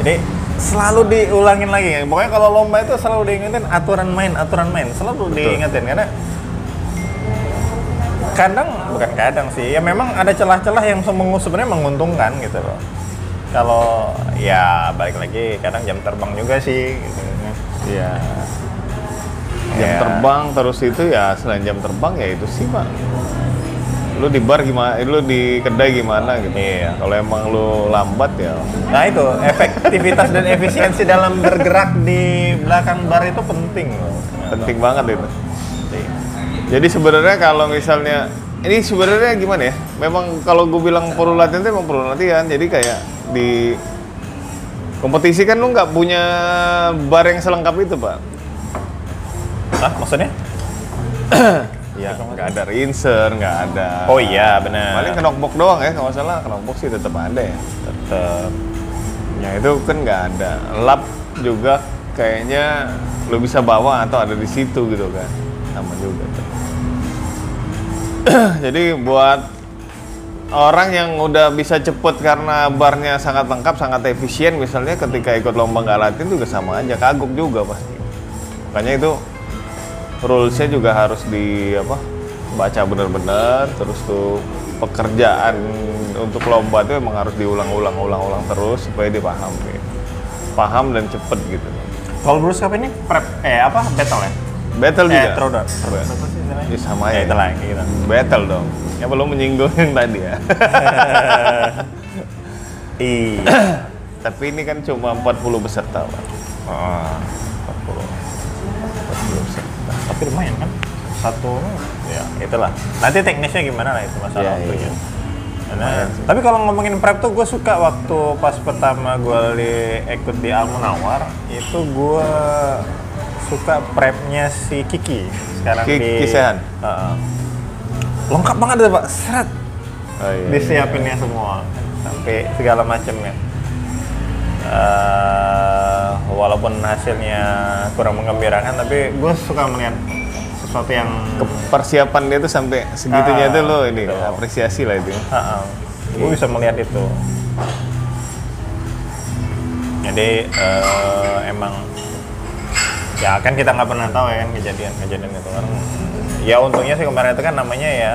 Speaker 2: Jadi selalu diulangin lagi ya. Pokoknya kalau lomba itu selalu diingetin aturan main, aturan main. Selalu diingetin karena kadang bukan kadang sih ya memang ada celah-celah yang semengu- sebenarnya menguntungkan gitu loh. Kalau ya balik lagi kadang jam terbang juga sih gitu.
Speaker 1: Iya. Jam
Speaker 2: Iya.
Speaker 1: terbang terus itu ya selain jam terbang ya itu sih pak. Lu di bar gimana? Lu di kedai gimana gitu?
Speaker 2: Iya.
Speaker 1: Kalau emang lu lambat ya.
Speaker 2: Nah itu efektivitas dan efisiensi dalam bergerak di belakang bar itu penting loh.
Speaker 1: Penting banget itu.
Speaker 2: Penting.
Speaker 1: Jadi sebenarnya kalau misalnya ini sebenarnya gimana ya? Memang kalau gue bilang perlu latihan itu emang perlu latihan. Jadi kayak di kompetisi kan lu nggak punya bar yang selengkap itu pak.
Speaker 2: Hah, maksudnya?
Speaker 1: Ya nggak ada rinser, nggak ada.
Speaker 2: Oh iya benar.
Speaker 1: Paling kenokbok doang ya kalau nggak salah kenokbok sih tetap ada ya.
Speaker 2: tetap
Speaker 1: Ya itu kan nggak ada. Lap juga kayaknya lu bisa bawa atau ada di situ gitu kan. Sama juga. tuh. (clears throat) Jadi buat orang yang udah bisa cepet karena barnya sangat lengkap, sangat efisien misalnya ketika ikut lomba nggak latihan juga sama aja kagok juga pasti. Makanya itu rulesnya juga harus di apa baca bener-bener terus tuh pekerjaan untuk lomba itu emang harus diulang-ulang-ulang-ulang terus supaya dipahami paham dan cepet gitu
Speaker 2: Kalau Bruce Cup ini prep eh apa battle ya?
Speaker 1: battle
Speaker 2: Eh
Speaker 1: juga
Speaker 2: throwdown.
Speaker 1: Apa ya?
Speaker 2: Apa sih istilahnya?
Speaker 1: Ya, sama
Speaker 2: Ya
Speaker 1: ya
Speaker 2: itu lah kayak gitu.
Speaker 1: battle dong ya belum menyinggung yang tadi ya (laughs) (coughs)
Speaker 2: Iya.
Speaker 1: tapi ini kan cuma 40 peserta Pak.
Speaker 2: Ah, 40. 40 peserta. Tapi lumayan kan? Satu ya itulah. Nanti teknisnya gimana lah itu masalah
Speaker 1: Iya,
Speaker 2: waktunya.
Speaker 1: iya.
Speaker 2: Karena, tapi kalau ngomongin prep tuh gue suka waktu pas pertama gue ikut di Almunawar itu gue suka prepnya si Kiki sekarang
Speaker 1: Ki-
Speaker 2: di
Speaker 1: Ki Sehan?
Speaker 2: Heeh. lengkap banget deh pak seret
Speaker 1: Oh, iya.
Speaker 2: disiapinnya ya semua sampai segala macamnya Eh, walaupun hasilnya kurang mengembirakan tapi gue suka melihat sesuatu yang
Speaker 1: persiapan dia tuh sampai segitunya
Speaker 2: Ah,
Speaker 1: tuh lo ini
Speaker 2: betul.
Speaker 1: apresiasi lah itu
Speaker 2: gue bisa melihat itu jadi eh, emang ya kan kita nggak pernah tahu ya kan kejadian kejadian itu kan ya untungnya sih kemarin itu kan namanya ya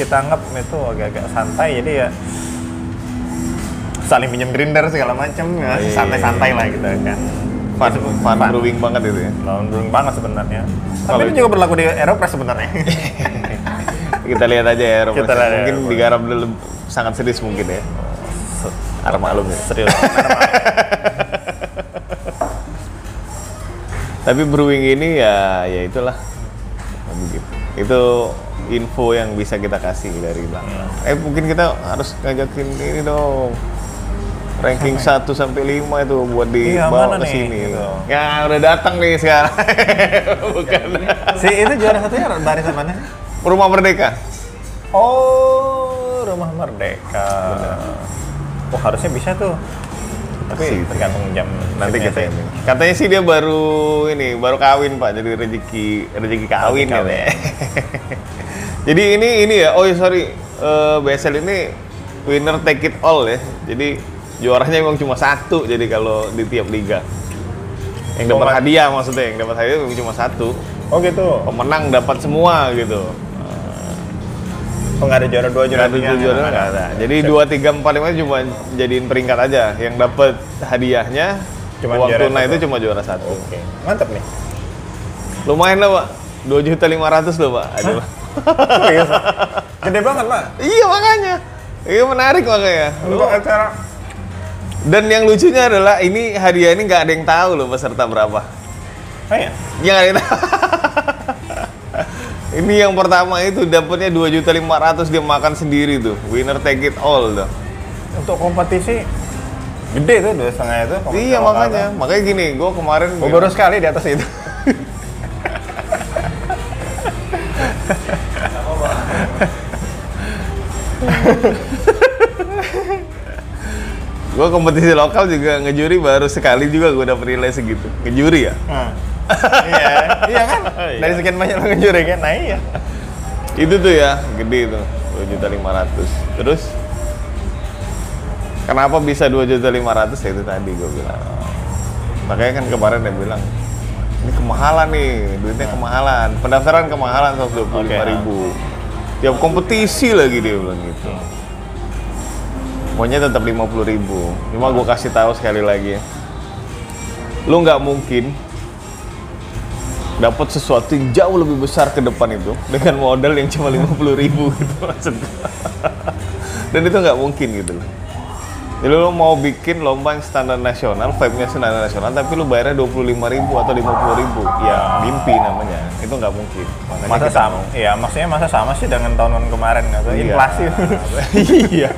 Speaker 2: kita anggap itu agak-agak santai jadi ya saling pinjam grinder segala macam ya
Speaker 1: Iya.
Speaker 2: santai-santai lah gitu kan
Speaker 1: fun,
Speaker 2: Gitu,
Speaker 1: fun brewing banget itu ya
Speaker 2: Lawan brewing banget sebenarnya tapi
Speaker 1: Kalau-
Speaker 2: ini juga berlaku di Aeropress sebenarnya
Speaker 1: kita lihat aja ya Romo.
Speaker 2: Kita lihat ya,
Speaker 1: mungkin
Speaker 2: Romo.
Speaker 1: digarap dulu sangat serius mungkin ya harap maklum ya
Speaker 2: serius
Speaker 1: tapi brewing ini ya ya itulah Ya begitu itu info yang bisa kita kasih dari bang
Speaker 2: Hmm.
Speaker 1: eh mungkin kita harus ngajakin ini dong ranking 1 sampai 5 itu buat
Speaker 2: ya? Iya,
Speaker 1: dibawa ke
Speaker 2: mana nih?
Speaker 1: sini.
Speaker 2: Gitu.
Speaker 1: Ya udah datang nih sekarang. (laughs) Bukan.
Speaker 2: si itu juara ya, satunya barisan mana sih?
Speaker 1: Rumah Merdeka.
Speaker 2: Oh, rumah merdeka. Oh, harusnya bisa tuh. Tapi
Speaker 1: Pasti.
Speaker 2: tergantung jam.
Speaker 1: Nanti
Speaker 2: jamnya
Speaker 1: kita
Speaker 2: sih.
Speaker 1: ini. Katanya sih dia baru ini, baru kawin Pak, jadi rezeki rezeki kawin
Speaker 2: Rezeki
Speaker 1: katanya. (laughs) jadi ini ini ya. Oh, ya, sorry. Eh, BSL ini winner take it all ya. Jadi juaranya memang cuma satu jadi kalau di tiap liga. Yang dapat
Speaker 2: Cuma-
Speaker 1: hadiah maksudnya, yang dapat hadiah memang cuma satu.
Speaker 2: Oh gitu.
Speaker 1: Pemenang dapat semua gitu.
Speaker 2: Oh, nggak ada juara dua, juara
Speaker 1: Juara
Speaker 2: tiga.
Speaker 1: tujuh juara nggak ada. Jadi dua tiga empat lima cuma jadiin peringkat aja. Yang dapat hadiahnya
Speaker 2: Cuma
Speaker 1: uang
Speaker 2: juara
Speaker 1: tunai
Speaker 2: satu.
Speaker 1: itu cuma juara satu.
Speaker 2: Oke, mantap nih.
Speaker 1: Lumayan lah pak, dua juta lima ratus loh pak. Aduh.
Speaker 2: Serius, iya, Pak. Gede banget, Pak.
Speaker 1: Iya makanya, iya menarik makanya. Lu
Speaker 2: Untuk acara
Speaker 1: Dan yang lucunya adalah ini hadiah ini nggak ada yang tahu loh peserta berapa.
Speaker 2: Oh iya?
Speaker 1: Yang ada yang tahu. (laughs) ini yang pertama itu dapatnya 2.500 dia makan sendiri tuh. Winner take it all tuh.
Speaker 2: Untuk kompetisi gede tuh dua setengah itu. kompetisi
Speaker 1: Iya
Speaker 2: lokal
Speaker 1: makanya,
Speaker 2: tuh.
Speaker 1: makanya gini, gue kemarin
Speaker 2: Gua baru sekali di atas itu.
Speaker 1: gue kompetisi lokal juga ngejuri baru sekali juga gue dapet nilai segitu. Ngejuri ya?
Speaker 2: Nah. iya, iya kan?
Speaker 1: (laughs) Iya.
Speaker 2: Dari sekian banyak lo ngejuri kan? Nah iya.
Speaker 1: Itu tuh ya, gede tuh, 2.500. Terus kenapa bisa 2.500 ya itu tadi gue bilang. Makanya kan kemarin dia bilang ini kemahalan nih, duitnya kemahalan. Pendaftaran kemahalan 125.000.
Speaker 2: Oke,
Speaker 1: Tiap kompetisi lagi dia bilang gitu. Maunya tetap 50.000. Cuma gue kasih tahu sekali lagi ya. Lu nggak mungkin dapat sesuatu yang jauh lebih besar ke depan itu dengan modal yang cuma 50.000 ribu gitu maksud gua. (laughs) dan itu nggak mungkin gitu loh jadi lo mau bikin lomba yang standar nasional, vibe-nya standar nasional, tapi lo bayarnya 25.000 atau 50.000 ya mimpi namanya, itu nggak mungkin Makanya
Speaker 2: Masa
Speaker 1: kita
Speaker 2: sama? Iya, maksudnya masa sama sih dengan tahun kemarin nggak tahu
Speaker 1: Iya.
Speaker 2: inflasi.
Speaker 1: (laughs) iya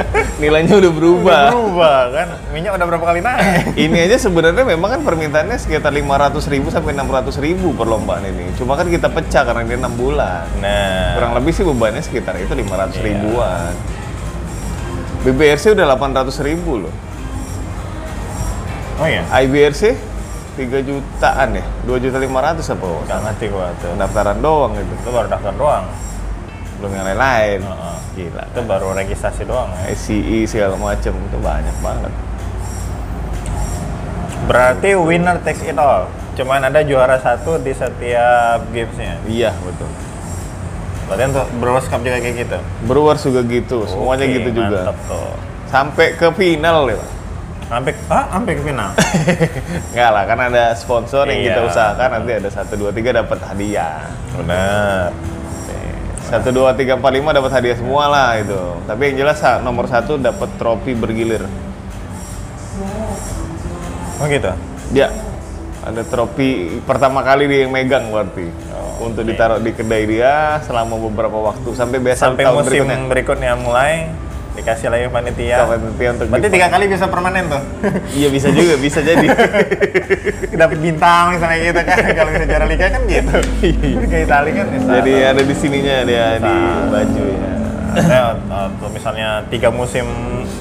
Speaker 1: (laughs) nilainya udah berubah
Speaker 2: Berubah kan? Minyak udah berapa kali naik?
Speaker 1: ini aja sebenarnya memang kan permintaannya sekitar 500.000 sampai 600.000 perlombaan ini cuma kan kita pecah karena dia 6 bulan
Speaker 2: Nah,
Speaker 1: kurang lebih sih bebannya sekitar itu 500
Speaker 2: Iya.
Speaker 1: ribuan BBRC udah 800 ribu loh
Speaker 2: oh iya.
Speaker 1: IBRC 3 jutaan ya 2 juta 500 apa
Speaker 2: Gak ngerti gua tuh. Nah,
Speaker 1: pendaftaran doang gitu
Speaker 2: Itu baru daftar doang.
Speaker 1: belum yang lain-lain
Speaker 2: Heeh.
Speaker 1: gila
Speaker 2: Itu baru registrasi doang. ya.
Speaker 1: ICE segala macam itu banyak banget
Speaker 2: Berarti winner takes it all. Cuman ada juara satu di setiap gamesnya.
Speaker 1: iya betul
Speaker 2: Berarti untuk Brewers Cup juga kayak gitu.
Speaker 1: Brewers juga gitu semuanya
Speaker 2: Oke,
Speaker 1: gitu juga
Speaker 2: Mantap tuh.
Speaker 1: sampai ke final (laughs) ya
Speaker 2: Sampai ah, sampai ke final.
Speaker 1: Enggak lah, kan ada sponsor yang kita
Speaker 2: Iya.
Speaker 1: usahakan nanti ada 1, 2, 3 dapat hadiah
Speaker 2: Benar.
Speaker 1: satu dua tiga empat lima dapat hadiah semua lah itu tapi yang jelas sa- nomor satu dapat trofi bergilir
Speaker 2: Oh gitu.
Speaker 1: ya ada trofi pertama kali dia yang megang berarti
Speaker 2: Oh,
Speaker 1: untuk ditaruh di kedai dia selama beberapa waktu sampai biasa
Speaker 2: Sampai
Speaker 1: tahun
Speaker 2: musim ya.
Speaker 1: berikutnya
Speaker 2: berikutnya. mulai dikasih lagi panitia.
Speaker 1: Sampai untuk
Speaker 2: Berarti
Speaker 1: di-
Speaker 2: tiga Nah, kali bisa permanen tuh.
Speaker 1: iya bisa juga bisa
Speaker 2: (laughs)
Speaker 1: jadi
Speaker 2: Dapat bintang misalnya gitu kan. Kalau sejarah liga kan gitu. Liga Italia kan bisa.
Speaker 1: jadi ada di sininya dia di
Speaker 2: Nah.
Speaker 1: baju ya
Speaker 2: Saya waktu misalnya tiga musim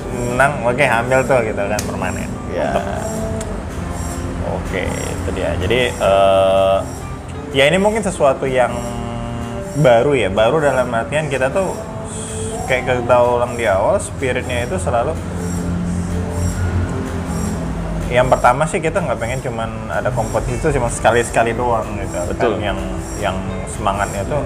Speaker 2: menang, oke ambil tuh gitu kan permanen.
Speaker 1: ya
Speaker 2: Oke, itu dia. Jadi eh, ya ini mungkin sesuatu yang baru ya, baru dalam artian kita tuh s- kayak kita ulang di awal, spiritnya itu selalu yang pertama sih kita nggak pengen cuman ada kompetisi itu cuma sekali-sekali doang gitu.
Speaker 1: Betul.
Speaker 2: Kan yang yang semangatnya tuh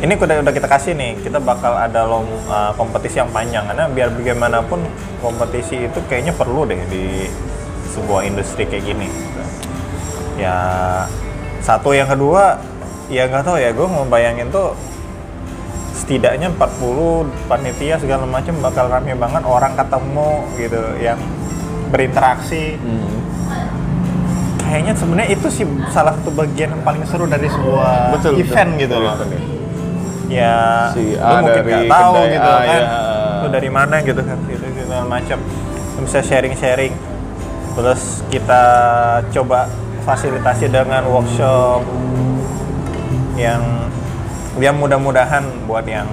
Speaker 2: ini udah udah kita kasih nih kita bakal ada lom, uh, kompetisi yang panjang karena biar bagaimanapun kompetisi itu kayaknya perlu deh di sebuah industri kayak gini gitu. ya satu yang kedua ya nggak tahu ya gue ngebayangin tuh setidaknya 40 panitia segala macam bakal rame banget orang ketemu gitu yang berinteraksi
Speaker 1: Hmm.
Speaker 2: kayaknya sebenarnya itu sih salah satu bagian yang paling seru dari sebuah
Speaker 1: betul
Speaker 2: event
Speaker 1: betul.
Speaker 2: gitu loh
Speaker 1: Event ya.
Speaker 2: ya
Speaker 1: Si
Speaker 2: lu
Speaker 1: A
Speaker 2: mungkin
Speaker 1: dari
Speaker 2: nggak tahu
Speaker 1: kedai
Speaker 2: gitu
Speaker 1: A,
Speaker 2: kan
Speaker 1: ya.
Speaker 2: lu dari mana gitu kan gitu segala macam Lu bisa sharing sharing terus kita coba fasilitasi dengan workshop yang yang mudah-mudahan buat yang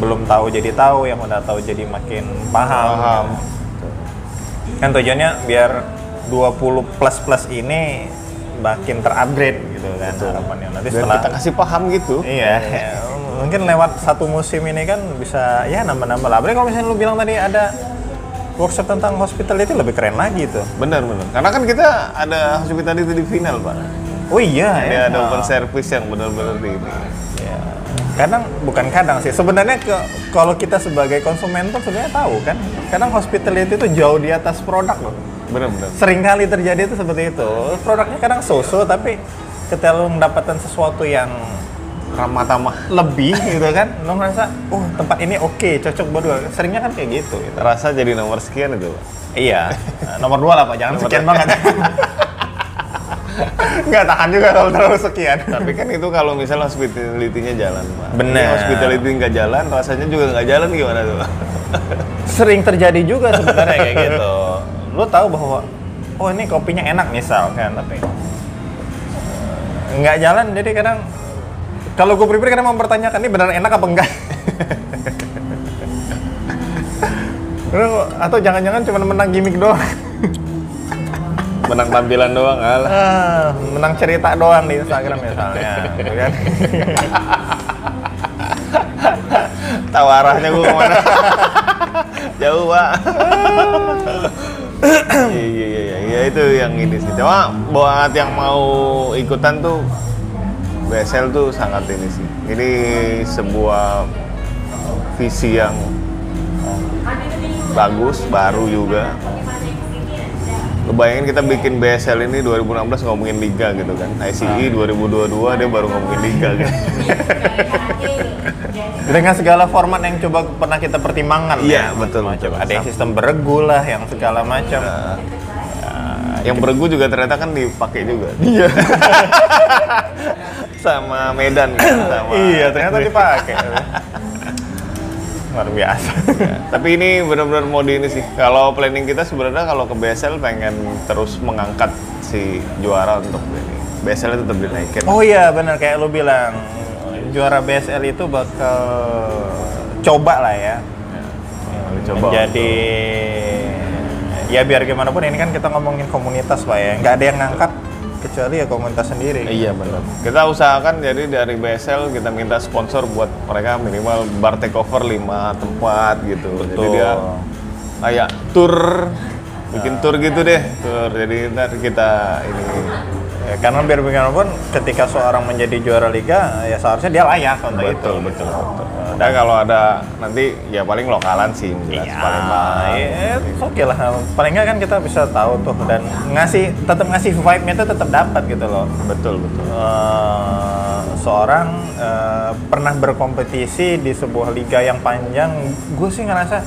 Speaker 2: belum tahu jadi tahu yang udah tahu jadi makin paham,
Speaker 1: Paham.
Speaker 2: kan tujuannya biar 20 plus plus ini makin terupgrade gitu kan harapannya nanti
Speaker 1: dan
Speaker 2: setelah
Speaker 1: kita kasih paham gitu
Speaker 2: Iya, ya. mungkin lewat satu musim ini kan bisa ya nambah-nambah lah. Apalagi kalau misalnya lu bilang tadi ada workshop tentang hospitality lebih keren lagi tuh.
Speaker 1: benar benar karena kan kita ada hospital tadi itu di final pak
Speaker 2: Oh iya,
Speaker 1: Dia ada open
Speaker 2: Nah,
Speaker 1: service yang benar-benar di ini.
Speaker 2: ya. Kadang bukan kadang sih. Sebenarnya ke- kalau kita sebagai konsumen pun sebenarnya tahu kan. Kadang hospitality itu jauh di atas produk loh.
Speaker 1: Benar-benar.
Speaker 2: Sering kali terjadi itu seperti itu. Produknya kadang so-so tapi ketika lu mendapatkan sesuatu yang
Speaker 1: ramah tamah
Speaker 2: lebih gitu kan lo ngerasa oh tempat ini oke cocok berdua seringnya kan kayak gitu, gitu.
Speaker 1: terasa jadi nomor sekian itu Pak.
Speaker 2: iya Eh, (laughs) nomor dua lah pak jangan sekian (laughs) banget nggak tahan juga kalau terlalu sekian
Speaker 1: tapi kan itu kalau misalnya hospitality-nya jalan pak
Speaker 2: Bener.
Speaker 1: Ini hospitality nggak jalan rasanya juga nggak jalan gimana tuh
Speaker 2: sering terjadi juga sebenarnya kayak gitu lo tahu bahwa oh ini kopinya enak misal kan tapi eh, nggak jalan jadi kadang kalau gue pribadi kadang mempertanyakan ini benar enak apa enggak (laughs) Lu- atau jangan-jangan cuma menang gimmick doang
Speaker 1: menang tampilan doang alah
Speaker 2: Ah, (laughs) menang cerita doang di Instagram misalnya gitu kan
Speaker 1: tahu arahnya gua kemana (laughs) jauh pak iya iya iya iya. ya itu yang ini sih cuma buat yang mau ikutan tuh BSL tuh sangat ini sih ini sebuah visi yang bagus baru juga Lu bayangin kita bikin BSL ini 2016 ngomongin liga gitu kan ICI 2022 dia baru ngomongin liga gitu
Speaker 2: dengan segala format yang coba pernah kita pertimbangkan
Speaker 1: Iya, betul,
Speaker 2: macam
Speaker 1: betul.
Speaker 2: ada yang sistem beregu lah yang segala macam
Speaker 1: Nah, yang bergu juga ternyata kan dipakai
Speaker 2: (laughs)
Speaker 1: juga iya sama Medan kan sama
Speaker 2: iya ternyata dipakai (laughs) luar biasa
Speaker 1: Iya. tapi ini benar-benar mode ini sih kalau planning kita sebenarnya kalau ke BSL pengen terus mengangkat si juara untuk ini BSL tetap dinaikin
Speaker 2: oh iya benar kayak lu bilang juara BSL itu bakal coba lah ya
Speaker 1: Coba
Speaker 2: menjadi ya biar gimana pun ini kan kita ngomongin komunitas pak ya nggak ada yang ngangkat kecuali ya komunitas sendiri
Speaker 1: Iya benar. Kita usahakan jadi dari BSL kita minta sponsor buat mereka minimal bar takeover 5 tempat gitu. Jadi
Speaker 2: Betul.
Speaker 1: dia kayak tour bikin tour gitu deh. Tour. Jadi ntar kita ini
Speaker 2: Ya, karena biar bagaimana pun ketika seorang menjadi juara liga ya seharusnya dia layak untuk itu.
Speaker 1: betul betul. Dan kalau gitu. ada nanti ya paling lokalan sih jelas
Speaker 2: Iya,
Speaker 1: paling mahal.
Speaker 2: ya, it's oke lah. Paling nggak kan kita bisa tahu tuh dan ngasih tetap ngasih vibe-nya tuh tetap dapat gitu loh.
Speaker 1: Betul betul.
Speaker 2: Eh, seorang eh, pernah berkompetisi di sebuah liga yang panjang, gue sih ngerasa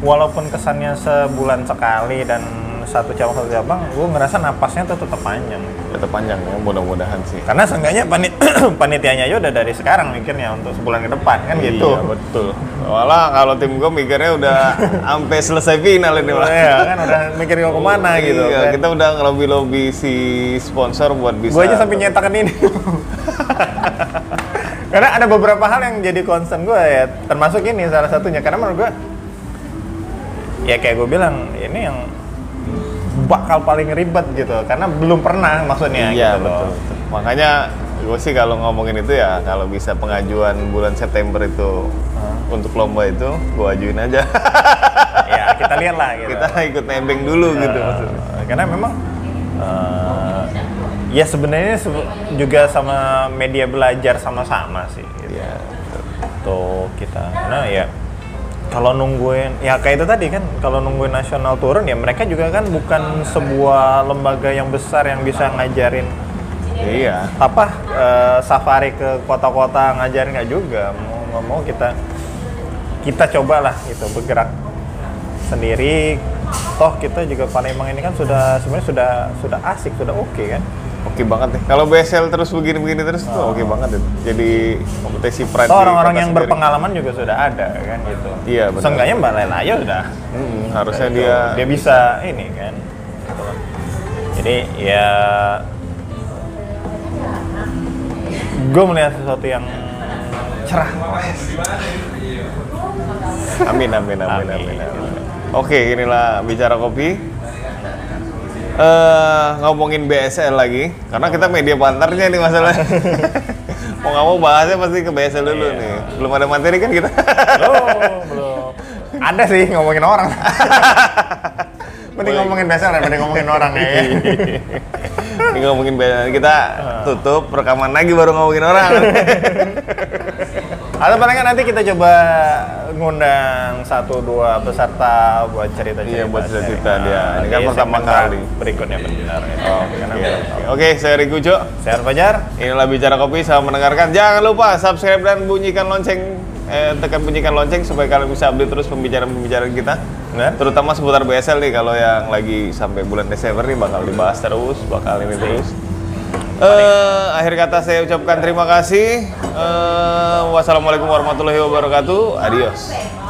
Speaker 2: walaupun kesannya sebulan sekali dan satu cabang satu cabang, gue ngerasa napasnya tuh tetap panjang.
Speaker 1: Tetap panjang ya mudah-mudahan sih.
Speaker 2: Karena seenggaknya panit (clears throat) panitianya aja udah dari sekarang mikirnya untuk sebulan ke depan kan gitu.
Speaker 1: Iya, betul. Walah kalau tim gue mikirnya (laughs) udah sampai selesai final ini Pak.
Speaker 2: Iya kan udah mikir mau kemana gitu.
Speaker 1: Iya,
Speaker 2: kan.
Speaker 1: kita udah ngelobi lobi si sponsor buat bisa.
Speaker 2: Gue aja sampai nyetakan ini.
Speaker 1: (laughs)
Speaker 2: karena ada beberapa hal yang jadi concern gue ya, termasuk ini salah satunya. Karena menurut gue, ya kayak gue bilang, ini yang bakal paling ribet gitu. Karena belum pernah maksudnya
Speaker 1: Iya
Speaker 2: gitu
Speaker 1: betul,
Speaker 2: loh.
Speaker 1: betul. Makanya gue sih kalau ngomongin itu ya kalau bisa pengajuan bulan September itu untuk lomba itu gue ajuin aja. (laughs)
Speaker 2: ya kita lihat lah gitu.
Speaker 1: kita ikut nebeng dulu gitu maksudnya.
Speaker 2: Eh, karena memang eh, ya sebenarnya sebe- juga sama media belajar sama-sama sih gitu.
Speaker 1: Iya.
Speaker 2: Tuh kita nah ya kalau nungguin ya kayak itu tadi kan kalau nungguin nasional turun ya mereka juga kan bukan sebuah lembaga yang besar yang bisa ngajarin
Speaker 1: Iya.
Speaker 2: apa eh, safari ke kota-kota ngajarin nggak juga mau nggak mau kita kita cobalah gitu bergerak sendiri toh kita juga Palembang ini kan sudah sebenarnya sudah sudah asik sudah oke kan
Speaker 1: Oke banget deh. Kalau BSL terus begini-begini terus tuh oke banget deh. Jadi kompetisi pride. di
Speaker 2: toh orang-orang
Speaker 1: kota
Speaker 2: yang
Speaker 1: sendiri.
Speaker 2: berpengalaman juga sudah ada kan gitu
Speaker 1: Iya, benar.
Speaker 2: seenggaknya Mbak Lela aja udah Gitu.
Speaker 1: Mm-mm, Hmm, harusnya dia,
Speaker 2: dia bisa ini kan gitu loh. jadi ya gue melihat sesuatu yang cerah
Speaker 1: Amin amin amin amin.
Speaker 2: Amin.
Speaker 1: amin. Oke, inilah bicara kopi. Eh ngomongin BSL lagi, karena kita media partnernya nih masalah. mau nggak mau bahasnya pasti ke BSL dulu
Speaker 2: Iya.
Speaker 1: nih. Belum ada materi kan kita.
Speaker 2: belum belum ada sih ngomongin
Speaker 1: (laughs)
Speaker 2: orang mending
Speaker 1: Boleh.
Speaker 2: ngomongin besar ya mending ngomongin orang
Speaker 1: (laughs)
Speaker 2: ya
Speaker 1: Ini ngomongin BSL kita tutup rekaman lagi baru ngomongin orang.
Speaker 2: Atau paling nggak nanti kita coba ngundang satu dua peserta buat Nah, cerita cerita.
Speaker 1: Iya, buat cerita-cerita dia. Ini kan pertama kali.
Speaker 2: Berikutnya benar. ya. Karena
Speaker 1: Oke,
Speaker 2: belum tahu.
Speaker 1: Oke, saya Riku Jo.
Speaker 2: Saya Fajar.
Speaker 1: Inilah bicara kopi, selamat mendengarkan. Jangan lupa subscribe dan bunyikan lonceng, eh, tekan bunyikan lonceng supaya kalian bisa update terus pembicaraan-pembicaraan kita.
Speaker 2: Benar.
Speaker 1: Terutama seputar BSL nih, kalau yang lagi sampai bulan Desember nih bakal dibahas terus, bakal ini terus. Eh, akhir kata saya ucapkan terima kasih. Eh, wassalamualaikum warahmatullahi wabarakatuh. Adios.